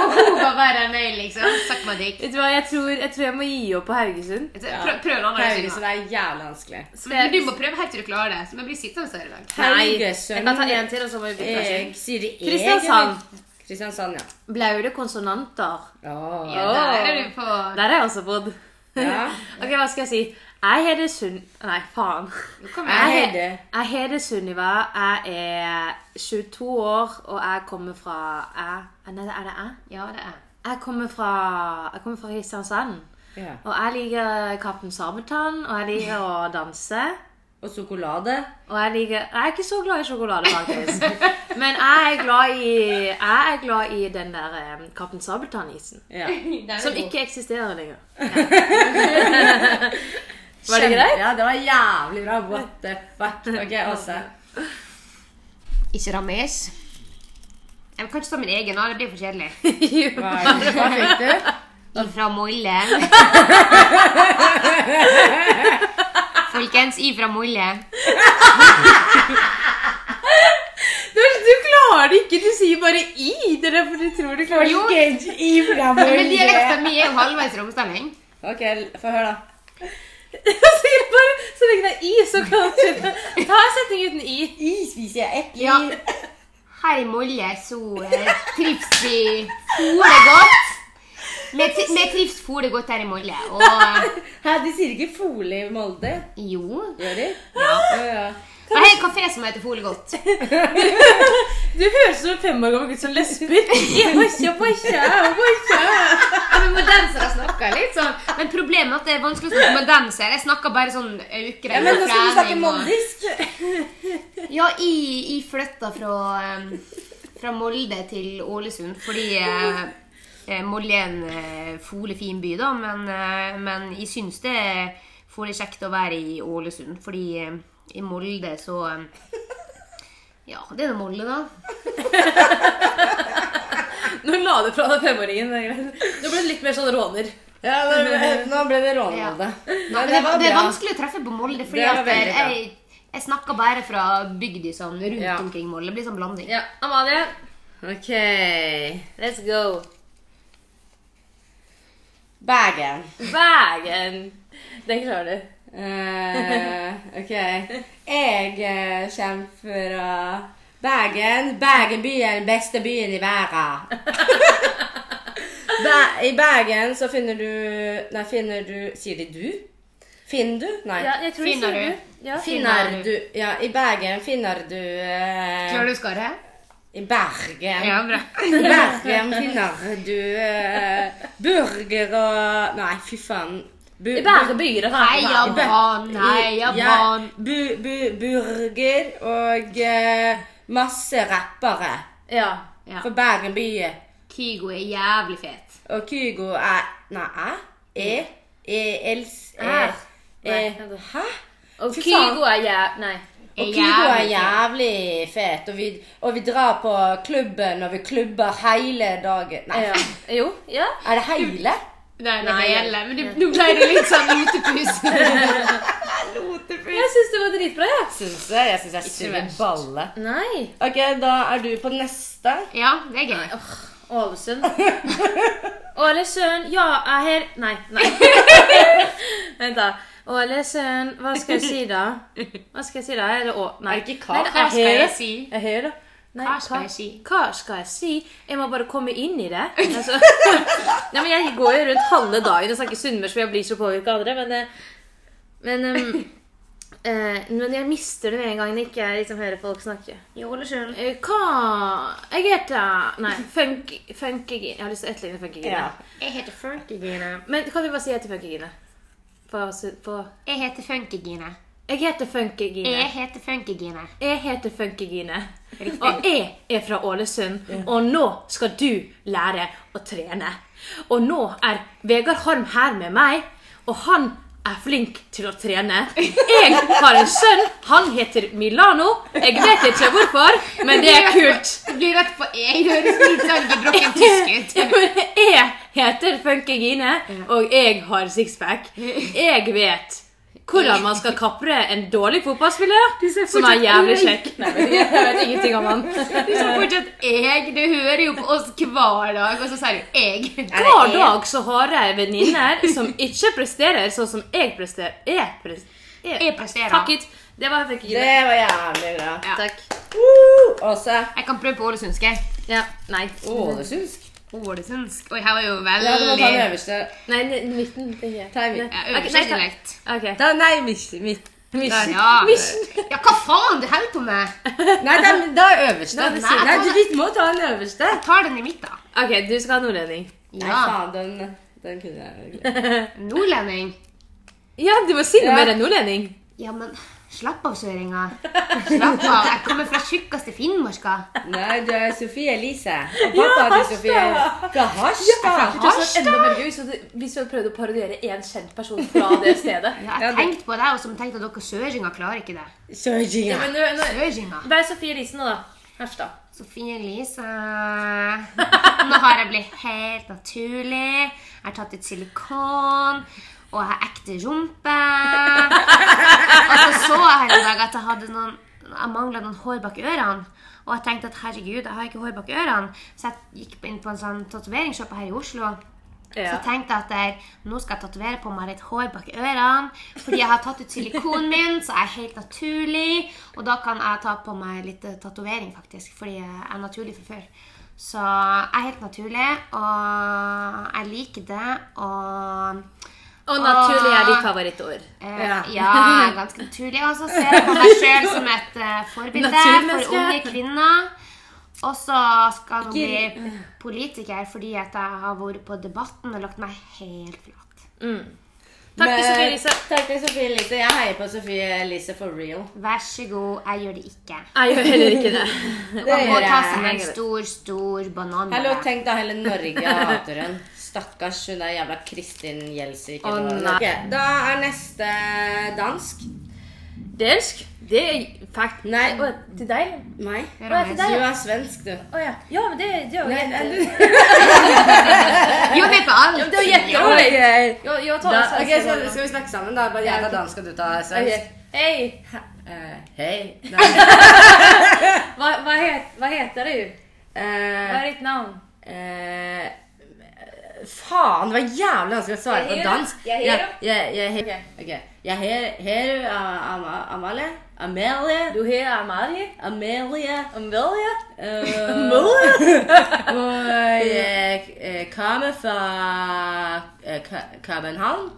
Og hun var verre enn meg, liksom. Suck my dick.
Vet du hva, jeg tror, jeg tror jeg må gi opp på Haugesund.
Prøv, prøv en annen
Haugesund
sang.
er jævlig vanskelig.
Men du må prøve helt til du klarer det. Så vi blir sittende her i dag.
Nei, jeg
Haugesund. Eh.
kan ta en til, og så må vi bytte.
Jeg
kanskje.
sier det jeg,
Kristiansand.
eller? Kristiansand, ja.
Blaure konsonanter.
Åh.
Ja, der er du på
Der har jeg også bodd.
Ja.
Ok, hva skal jeg si? Jeg heter Sunn... Nei, faen.
Kom
Jeg
igjen.
heter
Jeg heter Sunniva. Jeg er 22 år, og jeg kommer fra jeg, Nei, er det jeg?
Ja, det er.
Jeg kommer fra, jeg kommer fra Kristiansand.
ja.
Og jeg liker Kaptein Sabeltann, og jeg liker å danse.
Og sjokolade.
Og jeg liker Jeg er ikke så glad i sjokolade, faktisk. Men jeg er glad i, jeg er glad i den der eh, Kaptein Sabeltann-isen.
Ja.
Der er
Som
du.
ikke eksisterer lenger. Var det greit?
Ja, det var jævlig bra. What the fuck. Ok, Åse.
Ikke rammes. Jeg kan ikke ta min egen, da. det blir for kjedelig. Sånn
Jo.
Hva, er det- hva fikk du?
Ifra Molle. Folkens, ifra Molle.
Du, du klarer det ikke! Du sier bare 'i'. Det er derfor du tror du klarer
Jo,
det.
men dialekten min er jo halvveis romsdaling.
Ok, få høre, da.
Jeg sier bare, Så lenge det er 'i', så kan du Ta en setning uten 'i'.
I spiser jeg eple.
Ja. Her i Molle så eh, trives vi fore godt. Vi, tri- vi trives fore godt her i Molle. Og
Hæ, de sier ikke fole i Molde,
jo.
gjør de?
Ja.
Ja, ja.
Og jeg har en kafé som heter Fole godt.
Du høres som en fem år gammel gutt som lesber. Posja, posja, posja.
Ja, men Modensere snakker litt sånn. Men problemet er at det er vanskelig å snakke modensere. Jeg snakker bare sånn aukere.
Ja, men nå skal du snakke
og-
moldisk.
Ja, jeg, jeg flytta fra, eh, fra Molde til Ålesund fordi eh, eh, Molde er en eh, fole fin by, da, men, eh, men jeg syns det er fole kjekt å være i Ålesund, fordi eh, i Molde så eh, Ja, det er nå Molde, da.
Nå la du fra deg femåringen. det er greit. Nå ble det litt mer sånn råner.
Ja, nå ble, nå ble det rånmålde.
Nei, det, det er vanskelig å treffe på Molde, fordi
Det var
at eh,
veldig bra.
jeg, jeg snakker bare fra bygda sånn, rundt
Ja.
omkring Molde. Det blir sånn blanding.
Ja, Amalie,
Ok.
let's go.
Bagen.
Bergen. Den klarer du.
Eh, ok. Jeg eh, kommer fra Bergen. Bergen by er den beste byen i verden. Ba- I Bergen så finner du Nei, finner du Sier de du? Finner du? Nei.
Ja, jeg tror jeg
Finner
sier
du?
Ja.
Finner du Ja, i Bergen finner du eh,
Klarer du skaret?
I Bergen.
Ja, bra.
I Bergen finner du eh, burger og Nei, fy faen. Bu
I Bærebyer.
Heia Brann, heia Brann.
bu bu burger og eh, masse rappere
Ja.
Ja.
fra Bergen by.
Kygo er jævlig fet.
Og Kygo er Nei, æ? E, e, els, e,
Er.
e.
Nei.
Hæ?
Og
Fy faen.
Kygo er jæv... Nei.
Og
Jeg
Kygo
er
er
jævlig
jævlig fet, og vi, og vi drar på klubben, og vi klubber hele dagen. Nei,
Ja. Jo. Ja.
er det hele?
Nei, det
Nei.
hele. Men det- nå ble det litt sånn utepus.
Jeg syns det var dritbra, jeg.
Syns jeg. Jeg syns jeg
suger
suger balle.
Ja. Nei.
Ok, da er du på neste.
ja, det er gøy.
Åh, Ålesund. Ålesund, ja, jeg her Nei. nei. Vent, da. Ålesund, hva skal jeg si da? Hva skal jeg si da? Er det å... Nei.
Er det ikke hva?
Nei,
Hva skal
her-
jeg si?
Jeg her da? Nei,
Hva skal jeg si?
Hva skal jeg si? Jeg må bare komme inn i det. Altså, nei, men jeg går jo rundt halve dagen og snakker sunnmørsk, for jeg blir så påvirka av andre, men eh, men, em, eh, men jeg mister det med en gang jeg ikke liksom, hører folk snakke.
Jo, Ålesund.
Eh, Hva Jeg heter Nei, Funk, Funkygine. Jeg har lyst til å etterligne Funkygine.
Ja.
Jeg heter Funkygine.
Men kan du bare si jeg heter Funkygine? På, su- på
Jeg heter Funkygine.
Jeg heter Funkygine.
Jeg heter Funkygine.
Jeg heter Funkygine. Og jeg er fra Ålesund. Og nå skal du lære å trene. Og nå er Vegard Harm her med meg, og han er flink til å trene. Jeg har en sønn. Han heter Milano. Jeg vet ikke hvorfor, men det er kult.
Det blir rett på jeg. Det høres litt sånn gebrokken tysk ut.
Jeg heter Funky Gine, og jeg har sixpack. Jeg vet hvordan man skal kapre en dårlig fotballspiller som er jævlig kjekk. Nei, men jeg vet ingenting om han.
Du sa fortsatt jeg. Du hører jo på oss hver dag, og så sier du jeg.
Hver dag så har jeg venninner som ikke presterer sånn som jeg presterer. Jeg presterer.
Jeg presterer.
Fuck it. Det var Funky Gine.
Det var jævlig bra.
Ja.
Takk.
Woo! Åse.
Jeg kan prøve på ålesundsk. jeg.
Ja, nei.
Ålesundsk?
Ålesundsk? Oi, her var jo
Ja, du må ta den
veldig
øverste.
Nei, n- midten. tenker jeg.
Ta i midten.
Ja,
Ok,
øverste
nei, ta-
dialekt.
Ok.
Da, nei, midten. midten.
Midten.
Ja. ja, hva faen? Du holder på med?
Nei, da, da øverste.
Nei,
Nei,
ta
du
den-
vi må ta den øverste.
Ta den i midten.
Ok, du skal ha nordlending.
Nei,
Ja.
faen, den, den kunne jeg
Nordlending.
Ja, du må si noe
Ja.
mer enn nordlending.
Ja, men slapp av, søringa. Slapp av. Jeg kommer fra tjukkeste Finnmarka.
Nei, du er Sofie Elise. Og pappa ja, til Sofie Fra Harstad.
Det er sånn enda mer gøy så det- Hvis vi hadde prøvd å parodiere én kjent person fra det stedet.
Ja,
Ja,
jeg
det-
tenkte på det, og så tenkte jeg at dere søringer klarer ikke det.
Sorry.
Men nå, nå,
Søringer.
det er Sofie Elise nå, da. Herstad.
Sofie Elise. Nå har jeg blitt helt naturlig. Jeg har tatt ut silikon. Og jeg har ekte rumpe. Og så Altså, så jeg her en dag at jeg hadde noen jeg mangla noen hår bak ørene. Og jeg tenkte at herregud, jeg har ikke hår bak ørene. Så jeg gikk inn på en sånn tatoveringsshoppe her i Oslo. Så
Ja.
tenkte jeg at jeg, nå skal jeg tatovere på meg litt hår bak ørene. Fordi jeg har tatt ut silikonen min, så jeg er helt naturlig. Og da kan jeg ta på meg litt eh, tatovering, faktisk. Fordi jeg er naturlig fra før. Så jeg er helt naturlig, og jeg liker det. Og
Og naturlig er ditt favorittord.
eh, ja.
Ja.
jeg er ganske naturlig. Og så ser jeg på meg sjøl som et eh, forbilde for
Naturmenneske.
unge kvinner. Og så skal hun bli politiker fordi at jeg har vært på Debatten og lagt meg helt flat.
Mm. Takk til
Men-
Sofie Elise.
Takk til Sofie Elise. Jeg heier på Sofie Elise for real.
Vær så god, jeg gjør det ikke.
Jeg gjør heller ikke det.
Man må
gjør
ta
jeg.
seg en stor, stor banan.
Hallo, tenk da hele Norge hater hun. Stakkars hun der jævla Kristin Gjelsvik.
Å,
eller hva hun
nei.
heter. Ok, Da er neste dansk.
Dansk, det er fact.
Nei.
Å, til deg?
Nei.
Hør
Hva
om
er
jeg-
det
Du er svensk, du.
Å ja. Ja, men det det er jo
Nei,
jente.
er du-
Jo, vi er på alt.
Det er jo jente.
Oi, oi.
Jo, jo, ta
Da,
det
ok,
svenske
så
nå.
skal vi snakke sammen, da? Bare jeg tar dansk, og du tar svensk.
Ok. Hei.
Eh, Hei. Nei.
Hva, hva, het, hva heter du? Hva
Eh,
er ditt navn?
eh, Faen, det var jævlig vanskelig å svare
Jeg
på
heier.
dansk.
Jeg heier.
Jeg- jeg- jeg heier. Ok. Jeg heier- heier uh, Ama- Amalie. Amalie.
Du heter Amalie?
Amalie.
Amalie?
Eh, Og jeg eh, kommer fra eh, Kø- København.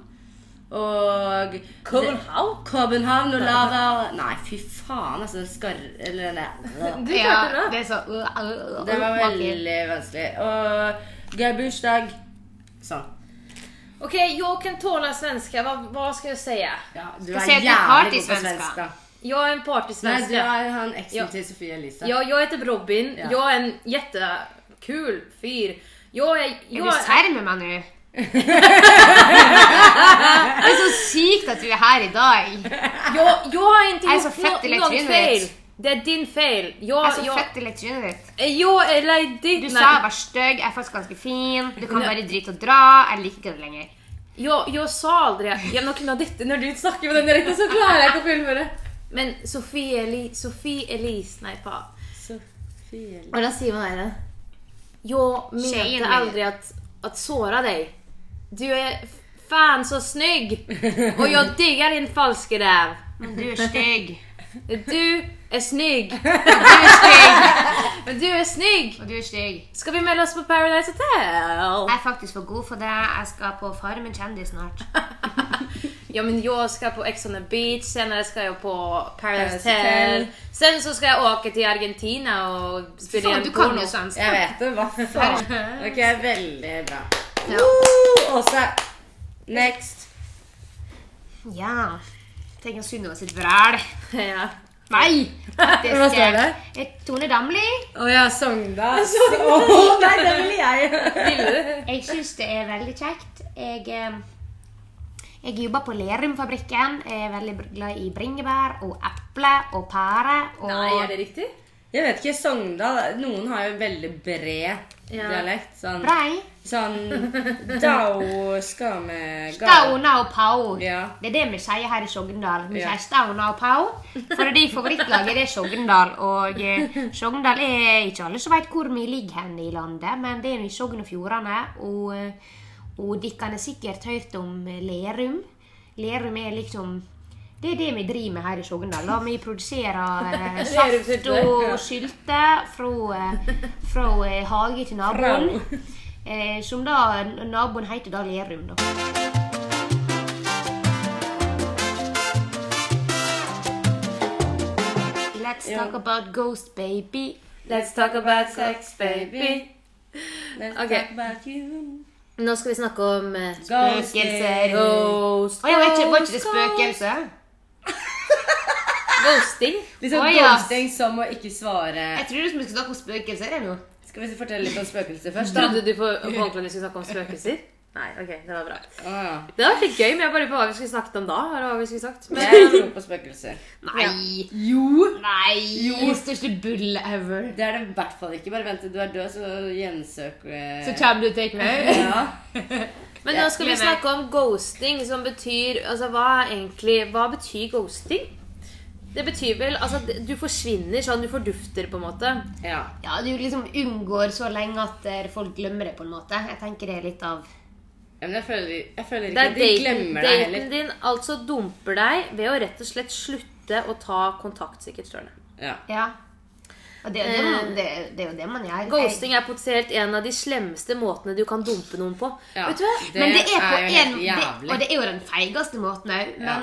Og
København?
København og laver Nei, fy faen, altså. Den skarr... Eller den der.
Du klarte det.
Ja, det er så uh,
Det var veldig vanskelig. Og gøy bursdag. Sånn.
Okej, jag kan tåla svenska. Vad, vad ska jag säga?
Ja, du
Skal
er
si at du er
jævlig god på
partysvenska.
svensk, da.
Jag är en
Nei, du
partysvenska.
er han eksen
Ja.
til Sofie Elise.
Jag, jag heter Robin.
Ja.
Jag är en jättekul fyr. Jag är...
Er
Jag
du
är
serr med meg nå? Det er så sykt at du er her i dag.
Jeg, jeg har ikke
Jeg er så
gjort
fett i
no, noen
trynet
feil.
ditt.
Det er din feil.
Jeg
Jeg,
er så
jeg,
Altså, fett i leksynet ditt.
jeg eller ditt
Du
nei.
sa jeg var stygg, jeg er faktisk ganske fin, du kan bare drite og dra. Jeg liker ikke det lenger.
Jeg, jeg sa aldri ja, nå kunne jeg dette, Når du snakker med den direkte, så klarer jeg ikke å fullføre. Men Sofie Elise, Sofie Elise Nei, faen.
Sofie
Hvordan sier man det? Jag
Tjejen
menade
menar.
aldrig att, att såra dig. Du är fan så snygg! Och jag diggar din falske räv.
Men du er stygg.
Du är snygg!
Og du er stygg.
Men du är snygg!
Og du er stygg.
Ska vi melde oss på Paradise Hotel?
Jeg er faktisk for god for det. Jeg skal på Farmen kjendis snart.
Ja men jag ska på Ex on the beach, senare ska jag på Paradise
Paradise Hotel.
Hotel. Sen så ska jag åka till Argentina och spela
Faen,
in
du kan
porno.
jo sånn. svensk.
Jeg vet det. Hva faen? Ok, veldig bra.
Ja.
Woo! Åse. Next.
Ja. Tenk om Sunniva sitt vræl.
Ja.
Nei! faktisk.
Hva står det?
Eh, Tone Damli.
Å ja, Sogndal. Å, nei, det ville jeg.
Jeg syns det er veldig kjekt. Jeg, eh, jeg jobber på Lerumfabrikken. Jeg er veldig br- glad i bringebær og eple og pære. Og
Nei, är det riktigt?
Jeg vet ikke. Sogndal Noen har jo veldig bred
Ja.
dialekt. Sånn,
brei.
sånn Dao skal med
Stauna og Pau.
Ja.
Det er det vi sier her i Sogndal. Vi
Ja.
sier Stauna og Pau. Fordi favorittlaget det er Sogndal. Og eh, Sogndal er ikke alle som vet hvor vi ligger hen i landet, men det er jo i Sogn og Fjordane. Og, eh, og dere har sikkert hørt om eh, Lerum. Lerum er liksom det er det vi driver med her i Sogndal. da. Vi produserer eh, saft
Lerumsylte.
og sylte fra, eh, fra eh, hage til naboen. Eh, som da naboen heter da Lerum, da. Let's talk about Ghost Baby.
Let's talk about sex baby.
baby. Let's
Ok.
talk about you.
Nå skal vi snakke om eh,
Spøkelser.
Ghost.
Å ja, var ikke, var ikke det spøkelse?
Ah! Ghosting.
Liksom
Å, ja.
ghosting som å ikke svare.
Jeg tror liksom vi skal snakke om spøkelser ennå.
Skal vi fortelle litt om spøkelser først, da?
Trodde du på på ordentlig vi skulle snakke om spøkelser? Nei, ok, det var bra.
Å, ja.
Det hadde vært litt gøy, men jeg bare på hva vi skulle snakket om da. Eller hva vi skulle sagt. Men,
Jeg tror på spøkelser.
Nei.
Jo!
Nei. Jo. Største bull ever.
Det er det i hvert fall ikke. Bare vent til du er død, så gjensøker jeg-
Så kommer du til meg.
ja.
men nå skal vi snakke om ghosting, som betyr Altså, hva er egentlig Hva betyr ghosting? Det betyr vel altså at du forsvinner sånn, du fordufter, på en måte.
ja.
Ja, du liksom unngår så lenge at eh, folk glemmer det, på en måte. Jeg tenker det er litt av
Men jeg føler, jeg føler
Det
ikke
er
at de
daten,
glemmer deg
daten
heller.
din altså dumper deg ved å rett og slett slutte å ta kontakt, sikkert, står det.
Ja.
Ja. Og det, er jo det, man- det, det er jo det man gjør.
Ghosting er potensielt en av de slemmeste måtene du kan dumpe noen på.
Ja,
Vet du hva?
Men det er på
jo
en
helt
det,
jævlig.
Og det er jo den feigeste måten òg. Men
Ja.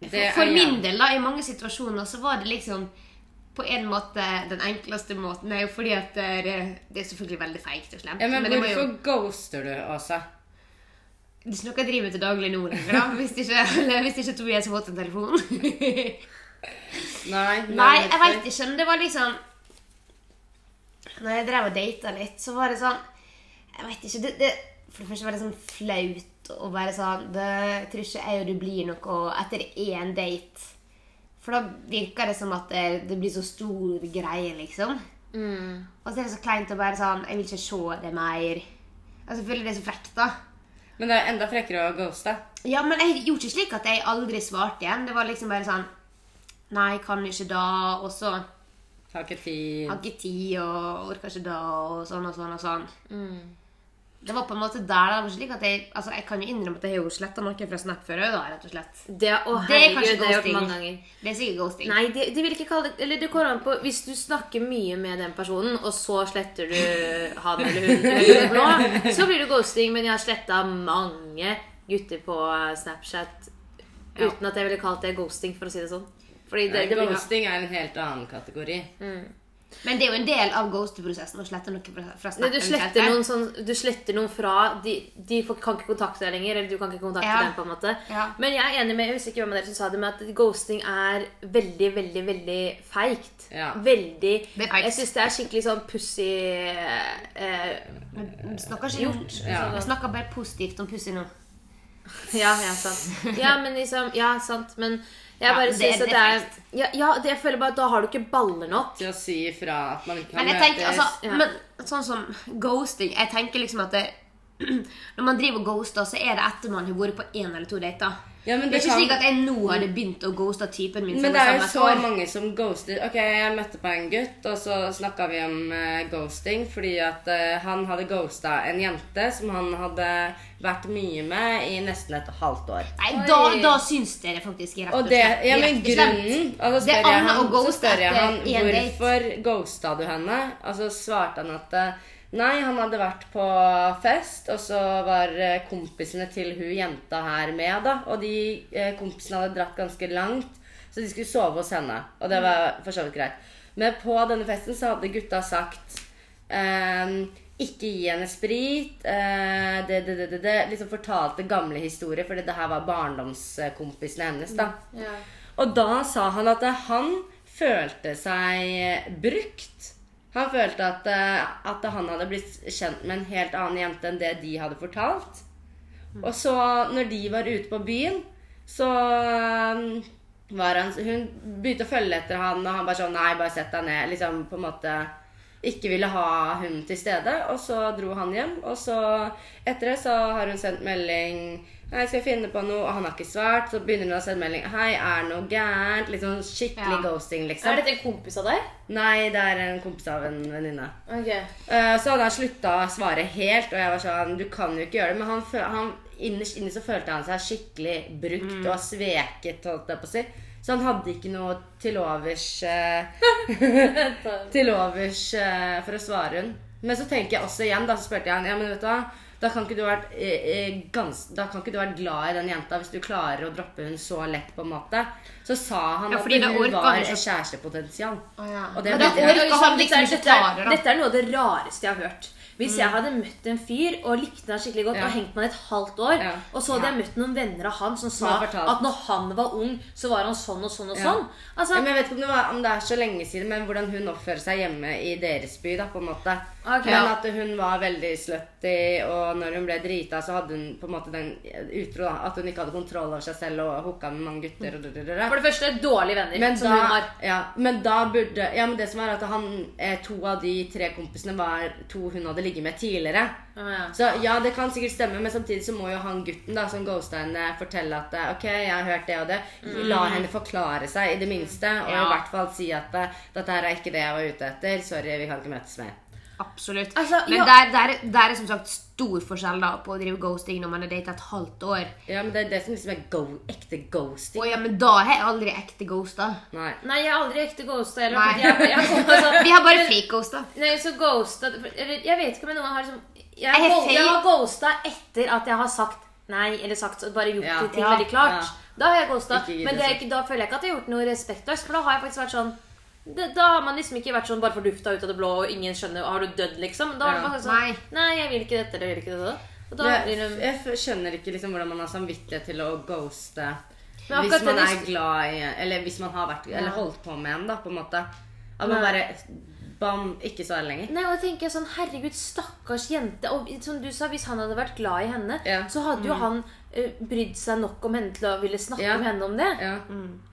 Det er
for min
jævlig.
del, da, i mange situasjoner, så var det liksom på en måte den enkleste måten er jo fordi at det, det er selvfølgelig veldig feigt og slemt.
Ja, men,
men det, må jo,
hvorfor ghoster du, Åsa?
det er ikke noe jeg driver med til daglig nå lenger, da. Hvis ikke, eller hvis ikke Tobias har fått en telefon.
Nei,
Nei, jeg veit ikke, men det var liksom Når jeg drev og data litt, så var det sånn Jeg vet ikke det, det, For det første var det sånn flaut å være sånn det, Jeg tror ikke jeg og du blir noe etter én date. For da virker det som at det, det blir så stor greie, liksom. Og så er det så kleint å være sånn Jeg vil ikke se det mer. Altså, jeg føler det er så frekt, da.
Men det er enda frekkere å ghoste.
Ja, men jeg gjorde ikke slik at jeg aldri svarte igjen. Det var liksom bare sånn Nei, kan ikke da. Og så
Tar ikke tid.
har ikke tid og orker ikke da og sånn og sånn og sånn. Det var på en måte der det var slik at jeg altså jeg kan jo innrømme at jeg har jo sletta noen fra Snap før òg, da, rett og slett.
Det, å,
Det er
herregud,
kanskje
det har jeg gjort
ghosting.
mange ganger.
Det er sikkert ghosting.
Nei, det, det vil ikke kalle det Eller det går an på Hvis du snakker mye med den personen, og så sletter du han eller hun eller blå, så blir det ghosting. Men jeg har sletta mange gutter på Snapchat uten at jeg ville kalt det ghosting, for å si det sånn. Fordi det,
Nei,
det blir
Mm.
ghosting er en helt annen kategori.
Men det er jo en del av ghost-prosessen å slette noe fra- fra
Nei,
Snap.
du, sletter
eventuelt.
noen sånn, du sletter noen fra De, de får, kan ikke kontakte deg lenger. Eller du kan ikke kontakte
Ja.
dem. på en måte
Ja.
Men jeg er enig med jeg husker ikke hvem av dere som sa det, men at ghosting er veldig, veldig veldig feigt.
Ja.
Veldig
Det er feigt.
Jeg syns det er skikkelig sånn pussy eh,
Men vi snakker ikke om
ja.
Vi snakker bare positivt om pussy nå.
Ja, ja, sant. Ja, men liksom, ja, sant. Men jeg
Ja,
bare
det-
synes
det
at
er
det er ja, ja, det- jeg føler bare at da har du ikke baller nok.
Til å si ifra at man ikke kan
Men jeg tenker
møtes.
altså
ja.
men, Sånn som ghosting Jeg tenker liksom at det, når man driver og ghoster, så er det etter man har vært på én eller to dater.
Ja, men
det er
det
ikke
kan-
slik at jeg nå hadde begynt å ghoste typen min.
Men det er jo så mange som ghoster. Ok, jeg møtte på en gutt, og så snakka vi om eh, ghosting fordi at eh, han hadde ghosta en jente som han hadde vært mye med i nesten et halvt år.
Nei,
Oi.
da, da syns dere faktisk jeg er rett
Og det, ja,
Rett
men
og slett.
grunnen og så
Det er
spør jeg
annet
han,
å
så
ghoste
spør jeg
etter
han
en date.
hvorfor ghosta du henne? Og så svarte han at eh, nei, han hadde vært på fest, og så var eh, kompisene til hun jenta her med, da. Og de eh, kompisene hadde dratt ganske langt, så de skulle sove hos henne. Og det var for så vidt greit. Men på denne festen så hadde gutta sagt Ehm, ikke gi henne sprit. eh, det, det, det, det, det. Liksom fortalte gamle historier, fordi det her var barndomskompisene hennes. da. Og da sa han at eh, han følte seg eh, brukt. Han følte at, eh, at han hadde blitt kjent med en helt annen jente enn det de hadde fortalt. Og så, når de var ute på byen, så eh, var han Hun begynte å følge etter han, og han bare sånn Nei, bare sett deg ned. Liksom på en måte ikke ville ha hun til stede. Og så dro han hjem, og så etter det så har hun sendt melding Nei, skal jeg finne på noe? Og han har ikke svart. Så begynner hun å sende melding. Hei, er det noe gærent? Litt sånn skikkelig
Ja.
ghosting,
Er
liksom.
dette en kompis av deg?
Nei, det er en kompis av en venninne.
Ok
Eh, Så hadde han slutta å svare helt, og jeg var sånn Du kan jo ikke gjøre det. Men han, føl- han, innerst inne så følte han seg skikkelig brukt
Mm.
og sveket, holdt jeg på å si. Så han hadde ikke noe til overs eh, til overs eh, for å svare hun. Men så tenker jeg også igjen, da så spurte jeg han, ja, men vet du hva, da kan, ikke du vært, eh, eh, gans, da kan ikke du vært glad i den jenta hvis du klarer å droppe hun så lett, på en måte. Så sa han
Ja,
at
fordi da
hun
orker
var
han
et
ikke.
kjærestepotensial.
Å, ja.
Og det
Men
ble
da orker
det.
han
Dette
liksom
er-
ikke
dette,
ta det,
er,
da.
dette er noe av det rareste jeg har hørt. Hvis jeg hadde møtt en fyr og likte han skikkelig godt
Mm. Ja.
og hengt med han et halvt år,
Ja.
og så hadde jeg møtt noen venner av han som sa
Som har fortalt.
at når han var ung, så var han sånn og sånn og
Ja.
sånn. Altså,
Ja, men jeg vet ikke om det, var, om det er så lenge siden, men hvordan hun oppfører seg hjemme i deres by, da, på en måte.
Ok.
Men at hun var veldig slutty, og når hun ble drita, så hadde hun på en måte den utro, da, at hun ikke hadde kontroll over seg selv og hooka med mange gutter og drrrrrra.
For det sånn første, dårlige venner
Men
som hun
da,
har.
ja, men da burde Ja, men det som er at han, eh, to av de tre kompisene var to hun hadde ligget med tidligere.
Å, ja.
Så ja, det kan sikkert stemme, men samtidig så må jo han gutten da, som ghosta henne, fortelle at eh, ok, jeg har hørt det og det. La
Mm.
henne forklare seg i det minste, og
Ja.
i hvert fall si at eh, dette her er ikke det jeg var ute etter. Sorry, vi kan ikke møtes mer.
Absolutt.
Altså,
men
ja.
der, der, der er som sagt stor forskjell da på å drive ghosting når man har data et halvt år.
Ja, men det er det som liksom er go ekte ghosting.
Å ja, men da har jeg aldri ekte ghosta.
Nei.
Nei, jeg har aldri ekte ghosta heller.
Nei.
fordi Jeg, jeg kom på sånn
Vi har bare fake ghosta.
Nei, så ghosta Eller jeg vet ikke om jeg noen gang har liksom jeg,
Er det
gho- jeg
feil?
har ghosta etter at jeg har sagt nei, eller sagt så- bare gjort
Ja.
de ting
Ja.
veldig klart. Da har jeg ghosta.
Ikke gidd
Men
å
det er
si.
ikke, da føler jeg ikke at jeg har gjort noe respektløst, for da har jeg faktisk vært sånn da, da har man liksom ikke vært sånn bare fordufta ut av det blå, og ingen skjønner Har du dødd, liksom? Da har
Ja.
det bare sånn Nei, jeg vil ikke dette, eller jeg vil ikke dette. Og da
Jeg,
blir det
jeg f- skjønner ikke liksom hvordan man har samvittighet til å ghoste
Men
hvis
akkurat
man
det-
er glad i Eller hvis man har vært Eller holdt på med en, da, på en måte. At man
Nei.
bare Bam, ikke svare lenger.
Nei, og jeg tenker sånn, herregud, stakkars jente Og som du sa, hvis han hadde vært glad i henne
Ja. Mm.
Så hadde jo han eh, brydd seg nok om henne Til å ville snakke
Ja.
med henne om det
Ja.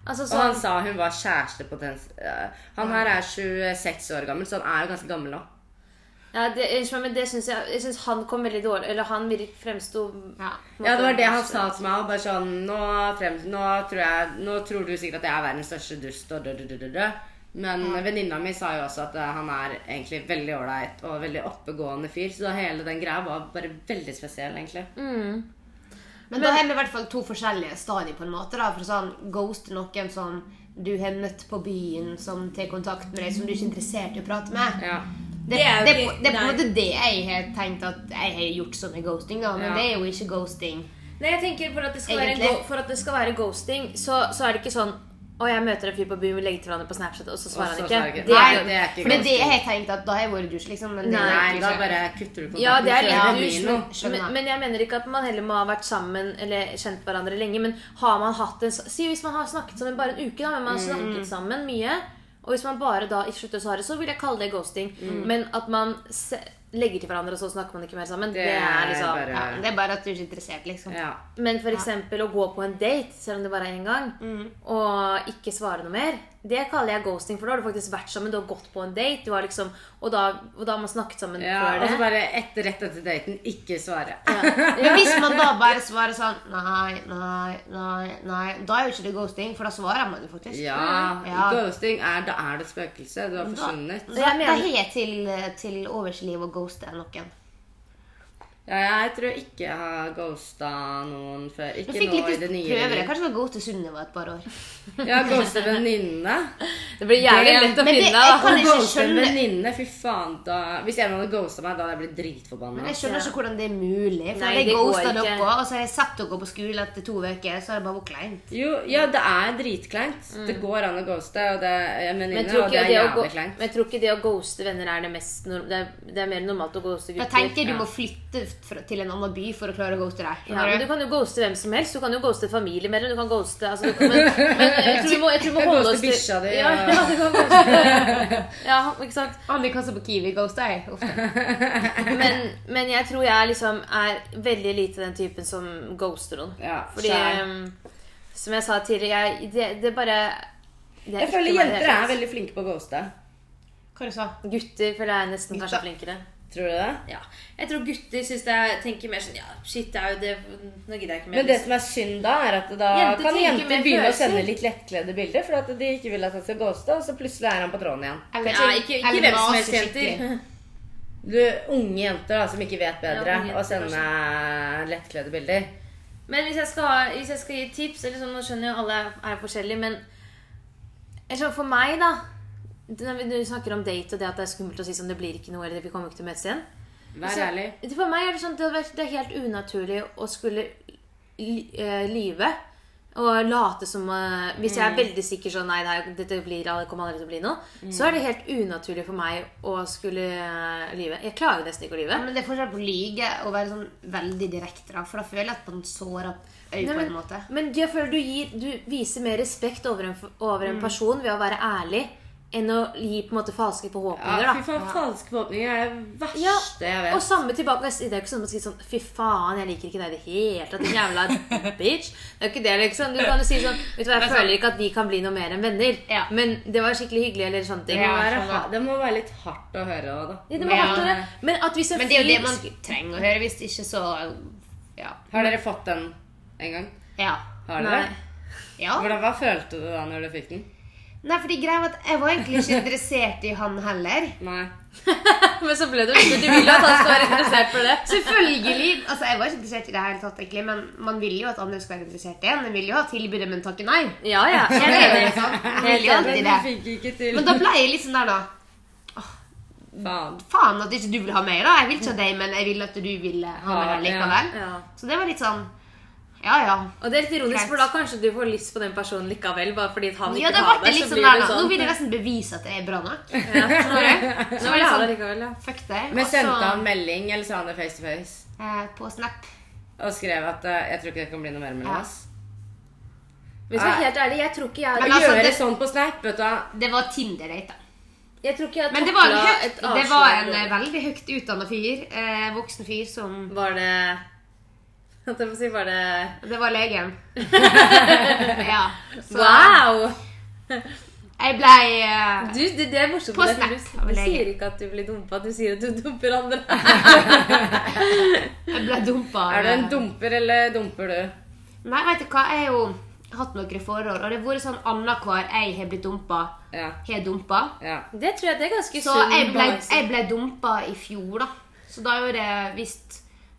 Altså
Og han
sånn,
sa hun var kjærestepotens... eh, Han her er 26 år gammel, så han er jo ganske gammel òg.
ja, det, unnskyld meg, men det synes jeg Jeg synes han kom veldig dårlig Eller han virk- fremsto
Ja.
Ja, det var det han sa til meg. og Bare sånn nå, frem, nå, tror jeg, nå tror du sikkert at jeg er verdens største dust og død, død, død, død. Men venninna mi sa jo også at eh, han er egentlig veldig ålreit og veldig oppegående fyr. Så hele den greia var bare veldig spesiell, egentlig.
Men, da har vi i hvert fall to forskjellige stadier på en måte da, for sånn ghost er noen som du har møtt på byen, som tar kontakt med deg, som du ikke er interessert i å prate med.
Ja.
Det, det,
Det er jo
er på- det er
litt-
på en
nei.
måte det jeg har tenkt at jeg har gjort som er ghosting, da, men
Ja.
det er jo ikke ghosting.
Nei, jeg tenker for at det skal, være,
Egentlig.
go- for at det skal være ghosting, så, så er det ikke sånn Og jeg møter en fyr på byen, vi legger til hverandre på Snapchat, og så svarer
så
han
svarer
ikke.
ikke.
Det er,
Nei, det er ikke
for det
godt.
er det jeg tenkte at da har jeg vært douche, liksom. Men det er
Nei,
ikke
da
så-
bare kutter du kontakten.
ja, det er
Ja,
kjører
litt
douche,
dusj,
bil
men-
nå.
skjønner.
men, men jeg mener ikke at man heller må ha vært sammen eller kjent hverandre lenge. Men har man hatt en s- Si hvis man har snakket sammen bare en uke, da, men man har snakket sammen mye. Og hvis man bare da ikke slutter å svare, så vil jeg kalle det ghosting. Men at man se, legger til hverandre, og så snakker man ikke mer sammen, det, er liksom
bare-
ja, Det er bare at du er ikke interessert, liksom.
Ja. Mm.
Men for eksempel å gå på en date, selv om det bare er én gang, og ikke svare noe mer, det kaller jeg ghosting. For da har du faktisk vært sammen, du har gått på en date, du har liksom, og, da, og da har man snakket sammen
ja,
før
og så
det.
bare etter, rett etter daten, ikke svare.
Men hvis man da bare svarer sånn nei, nei, nei, nei, da er jo ikke det ghosting, for da svarer man jo faktisk.
Ja,
Ja.
ghosting er Da er det spøkelse. Du har
Da,
forsvunnet.
da, da
mener-
har jeg til, til overs i livet å ghoste noen.
Ja, jeg tror ikke jeg har ghosta noen før.
Du
Ikke
fikk
nå i
litt
det nye
prøver.
livet.
Kanskje du skal gå til Sunniva et par år.
Jeg har ghostet venninne.
Det blir jævlig lett å
Men det-
finne.
jeg
da.
kan ikke
Ghoste en
skjønne-
venninne, fy faen da Hvis en hadde ghosta meg, da hadde jeg blitt
Men
dritforbanna.
jeg skjønner ikke hvordan det er mulig. For
Nei,
jeg
det går
ghosta
ikke.
dere, og så har jeg satt dere på skolen etter to uker, så har det bare vært kleint.
Jo, ja, det er dritkleint. Det går an å ghoste og det er
Mm.
en
Men jeg,
venninne,
tror
og
ikke
det er
det å
jævlig
gå,
kleint.
men jeg tror ikke det å ghoste venner er det mest norm- det er, det er mer normalt å ghoste
Da
gutter.
tenker jeg du må flytte fra- til en annen by for å klare å ghoste deg.
Ja, men Du kan jo ghoste hvem som helst. Du kan jo ghoste familiemedlem. Du kan ghoste altså, du, men, men jeg tror vi må, jeg tror vi
Du
må
kan
holde
ghoste
oss til
bikkja di,
Ja,
og-
ja, du kan ghoste Ja, ikke sant?
Annika som på Kiwi ghosta jeg ofte.
Men, men jeg tror jeg liksom er veldig lite den typen som ghoster noen.
Ja,
Fordi
skjær.
ehm, Som jeg sa tidligere, jeg, det, det bare det er ikke
Jeg
meg i
føler
det
jenter
hele
er
tatt.
veldig flinke på å ghoste.
Hva du sa
Gutter føler jeg er nesten
Gutta.
kanskje flinkere.
Tror du det?
Ja. Jeg tror gutter synes det er, tenker mer sånn Ja, shit, det er jo det Nå gidder jeg ikke mer.
Men det som er synd da, er at da
Jenter
kan
tenker
jenter
mer
begynne å
følelser.
sende litt lettkledde bilder, for at de ikke vil at han skal ghoste, og så plutselig er han på tråden igjen.
Eller,
ja, ikke, ikke
eller
hvem som
mase
helst jenter.
skikkelig.
Du, Unge jenter da, som ikke vet bedre,
Ja, unge jenter,
å sende lettkledde bilder.
Men hvis jeg skal, ha- hvis jeg skal gi et tips eller sånn, Nå skjønner jeg jo alle er forskjellige, men jeg skjønner for meg, da det- Når vi- når du snakker om date og det at det er skummelt å si sånn, det blir ikke noe, eller vi kommer ikke til å møtes igjen
Vær
så-
ærlig.
det- For meg er det sånn at det hadde vært- det er helt unaturlig å skulle li- eh, lyve og late som eh, Hvis jeg er veldig sikker sånn Nei, nei dette blir, det kommer aldri til å bli noe. Så er det helt unaturlig for meg å skulle eh, lyve. Jeg klarer jo nesten ikke å lyve.
Ja, men det er forskjell på å lyge og være sånn veldig direkte, da. For da føler jeg at man sårer øyet
Nei,
på en
men-
måte.
Men jeg føler du, gir, du viser mer respekt over en, over en person ved å være ærlig enn å gi på en måte falske forhåpninger.
Ja, fy
da.
faen, falske forhåpninger er det
Ja,
verste jeg
og
vet.
samme tilbake. Det er jo ikke sånn at man sier sånn Fy faen, jeg liker ikke deg i det hele tatt. Din jævla bitch. Det er jo ikke det, liksom. Du kan jo si sånn Vet du hva, jeg føler ikke at vi kan bli noe mer enn venner.
Ja.
Men det var skikkelig hyggelig, eller sånne ting.
Det må
Ja,
være,
skjønner.
ha- det må være litt hardt å høre òg, da.
Ja, det må være hardt å
Men-
høre. Men at hvis en
Men det er jo det
fyr
man trenger å høre. Hvis det ikke, så Ja.
Har dere fått den en gang?
Ja.
Har dere?
Nei.
ja.
Hvordan, hva følte du da når du fikk den?
Nei, fordi greia var at jeg var egentlig ikke interessert i han heller.
Nei.
Men så ble det jo Du vil jo at han skal være interessert for det.
Selvfølgelig. Altså, jeg var ikke interessert i det hele tatt, egentlig, men man vil jo at andre skal være interessert i en. Man vil jo ha tilbudet, men takke nei.
Ja, ja.
Det
Helt
er
enig.
jo sant. Man
Helt
vil jo
enig.
alltid
Men
det.
du fikk ikke til.
Men da ble jeg litt sånn der, da.
Faen.
Faen at ikke du vil ha meg, da. Jeg vil ikke ha deg, men jeg vil at du vil ha
Ja,
meg likevel.
Ja.
Så det var litt sånn Ja, ja.
Og det er litt ironisk,
Greit.
for da kanskje du får lyst på den personen likevel. Bare fordi at han
Ja,
ikke
da
har
ble det
deg,
litt
så
sånn
blir
der,
det
da. Nå
sånn.
vil jeg nesten bevise at jeg er bra nok.
Ja.
Skjønner du?
Nå
Så
vil
var
jeg
det
ha
sånn
deg likevel, ja.
Fuck deg.
Men
Og så
sendte han melding, eller sa han det face to face?
eh, på Snap
Og skrev at eh, 'jeg tror ikke det kan bli noe mer mellom
Ja.
oss'.
Men skal jeg være helt ærlig, jeg tror ikke jeg
Men
Å
altså,
gjøre
det-
sånn på Snap, vet du hva.
Det var Tinder-date, da.
Jeg tror ikke jeg
Men det var en,
taklet
høyt,
et
det var
avslag.
en eh, veldig høyt utdanna fyr. Eh, voksen fyr som
Var det Holdt jeg på å si, var det
Det var legen. ja. Så
Wow!
jeg blei eh,
Du, det, det er morsomt.
På
med deg, for
Snap,
Du,
av
du
legen.
sier ikke at du blir dumpa, du sier at du dumper andre.
Jeg ble dumpa. av-
Er du en dumper, eller dumper du?
Nei, vet du hva, jeg har jo hatt noen forhold, og det har vært sånn annenhver jeg har blitt dumpa,
Ja.
har dumpa.
ja.
Det tror jeg det er ganske
Så
sunn
jeg ble,
balanse.
jeg ble dumpa i fjor, da. Så da er jo det Hvis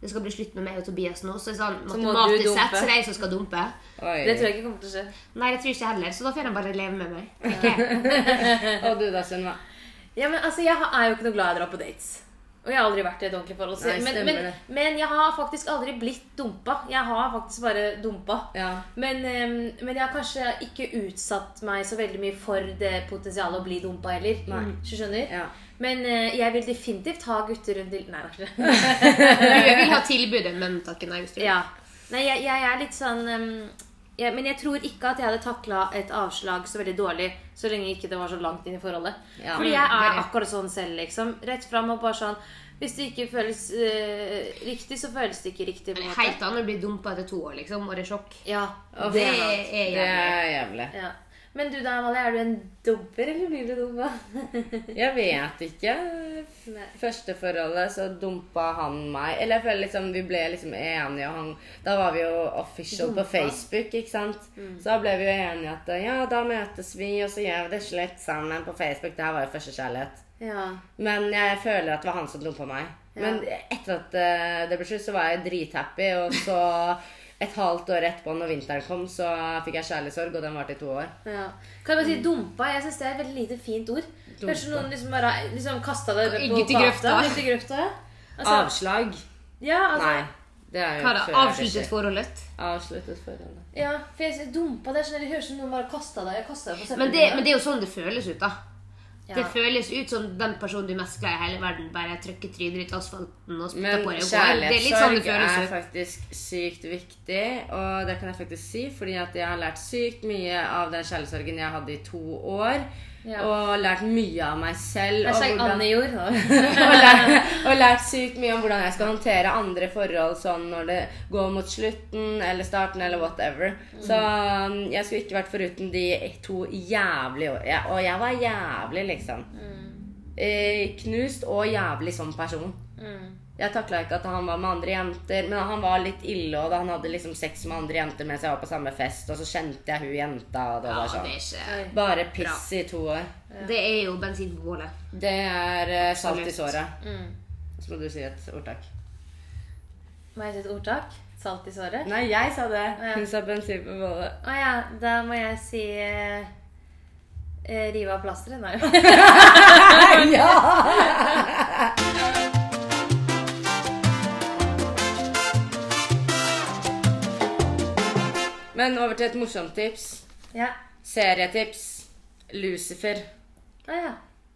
det skal bli slutt med meg og Tobias nå, så er det sånn
Så må du
matematisk
dumpe.
sett så er det jeg som skal dumpe.
Oi.
Det tror jeg ikke kommer til å skje.
Nei, det tror jeg ikke heller, så da får jeg bare leve med meg. tenker jeg.
Og du da, Sunniva?
Ja, men altså, Jeg har- er jo ikke noe glad i å dra på dates. Og jeg har aldri vært i et ordentlig forhold. så-
Nei,
men,
stemmer
men,
det.
men jeg har faktisk aldri blitt dumpa. Jeg har faktisk bare dumpa.
Ja.
Men, eh, men jeg har kanskje ikke utsatt meg så veldig mye for det potensialet å bli dumpa heller.
Nei.
Hvis du skjønner?
Ja.
Men eh, jeg vil definitivt ha gutter rundt i Nei, det er ikke det.
Jeg vil ha tilbudet, men takk nei. Hvis du vil.
Ja. Nei, jeg, jeg er litt sånn ehm, jeg- Men jeg tror ikke at jeg hadde takla et avslag så veldig dårlig så lenge ikke det var så langt inn i forholdet.
Ja,
Fordi jeg
det er
er
det.
akkurat sånn selv, liksom. Rett fram og bare sånn Hvis det ikke føles eh, riktig, så føles det ikke riktig. på en
Men
måte.
helt annet å bli dumpa etter to år, liksom, og det er sjokk.
Ja.
Uff,
Det
ja.
er
Det
jævlig.
er jævlig.
ja. Men du da, Amalie, er du en dumper, eller blir du dumpa?
Jeg vet ikke.
Nei.
Første forholdet så dumpa han meg. Eller jeg føler liksom vi ble liksom enige, og han Da var vi jo official
Dumpa?
på Facebook, ikke sant. Så da ble vi jo enige at ja, da møtes vi, og så gjør vi det slutt sammen på Facebook. Det her var jo første kjærlighet.
Ja.
Men jeg føler at det var han som dumpa meg. Men etter at eh, det ble slutt, så var jeg drithappy. Og så et halvt år etterpå, når vinteren kom, så fikk jeg kjærlighetssorg, og den varte i to år.
Ja. Kan jeg bare si
Mm.
dumpa? Jeg syns det er et veldig lite fint ord. Kanskje noen liksom bare liksom kasta det på
Ut i grøfta.
Ut i grøfta, ja. Altså,
Avslag?
ja, altså,
Nei. Det er jo
Hva da?
før det skjer.
Avsluttet forholdet?
Avsluttet forholdet.
Ja, for jeg dumpa det. Sånn, det høres ut som noen bare kasta deg. Jeg kastet deg på
Men det, men det er jo sånn det føles ut, da.
Ja.
Det føles ut som den personen du er mest glad i i hele verden, bare trykker trynet ditt i asfalten og spytter
Men
på deg. og går. Det er litt sånn det
kjærlighetssorg er
føles ut.
faktisk sykt viktig, og det kan jeg faktisk si, fordi at jeg har lært sykt mye av den kjærlighetssorgen jeg hadde i to år.
Ja.
Og lært mye av meg selv. Og
Hashtag
hvordan,
Anne gjorde.
og, lært, og lært sykt mye om hvordan jeg skal håndtere andre forhold sånn når det går mot slutten eller starten eller whatever. Så um, jeg skulle ikke vært foruten de to jævlig år. Ja, og jeg var jævlig, liksom.
Mm.
Eh, knust og jævlig som person.
Mm.
Jeg takla ikke at han var med andre jenter, men han var litt ille. Og da han hadde liksom sex med andre jenter mens jeg var på samme fest, og så kjente jeg hun jenta. Og det
Ja,
var
det
sånn.
er ikke
Bare piss i to år.
Det er jo bensin på bålet.
Det er eh, salt i
Absolutt.
såret.
Mm.
Så må du si et ordtak.
Må jeg si et ordtak? Salt i såret?
Nei, jeg sa det.
ja.
Hun sa bensin på bollet.
Å ja, da må jeg si eh, eh, Rive av plasteret? Nei.
Ja! Men over til et morsomt tips.
ja.
Serietips. Lucifer.
Å ja.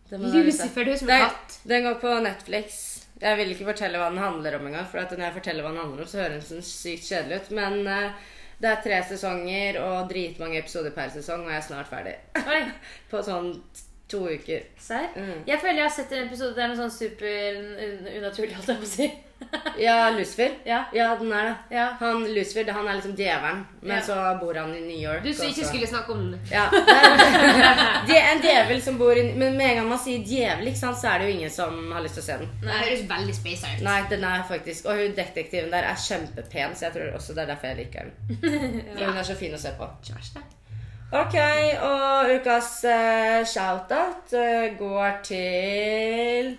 Det må dere se.
Lucifer, du som er
Nei,
katt.
Den går på Netflix. Jeg vil ikke fortelle hva den handler om engang. For at når jeg forteller hva den handler om, så høres den sykt kjedelig ut. Men eh, det er tre sesonger og dritmange episoder per sesong, og jeg er snart ferdig.
Oi.
på sånn to uker.
Serr?
Mm.
Jeg føler jeg har sett en episode der noe sånn super un- unaturlig, holdt jeg på å si.
Ja, Lucifer.
Ja.
Ja, den er det.
ja.
Han Lucifer, det- han er liksom djevelen, men
Ja.
så bor han i New York.
Du som
og
ikke
så-
skulle snakke om det.
Ja. det er- Det er en djevel som bor i Men med en gang man sier djevel, ikke sant, så er det jo ingen som har lyst til å se den.
Det høres veldig space out.
Nei, den er faktisk Og hun detektiven der er kjempepen, så jeg tror også det er derfor jeg liker den. For Hun er så fin å se på.
Ikke verst, det.
Ok, og ukas eh, shoutout eh, går til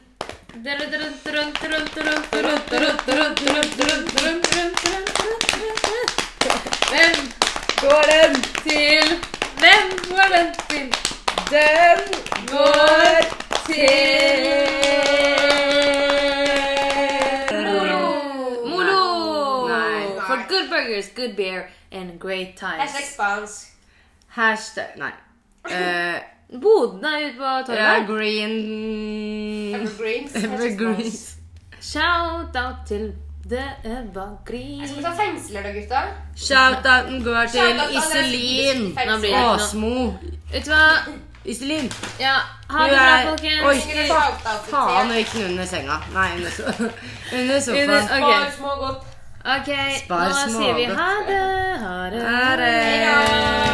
Hvem
Går den
til Hvem går den til?
Den går til
Molo!
Nei.
For good burgers, good beer and great times.
spansk.
Hashtag Nei. Eh,
Boden er ute på
ja,
torget.
green
Evergreens.
Evergreens.
Shout-out til det er bare gris.
ta fengsler da, gutta.
Shoutouten går til Iselin
Nå blir det ikke noe.
Åsmo.
Vet du hva?
Iselin.
Ja, ha
Du
det bra,
er- Oi.
folkens.
Faen, nå gikk hun under senga. Nei, under, so under sofaen.
Under- Ok, ok, nå
Spar små
sier vi
godt.
ha det. Ha det.
Her er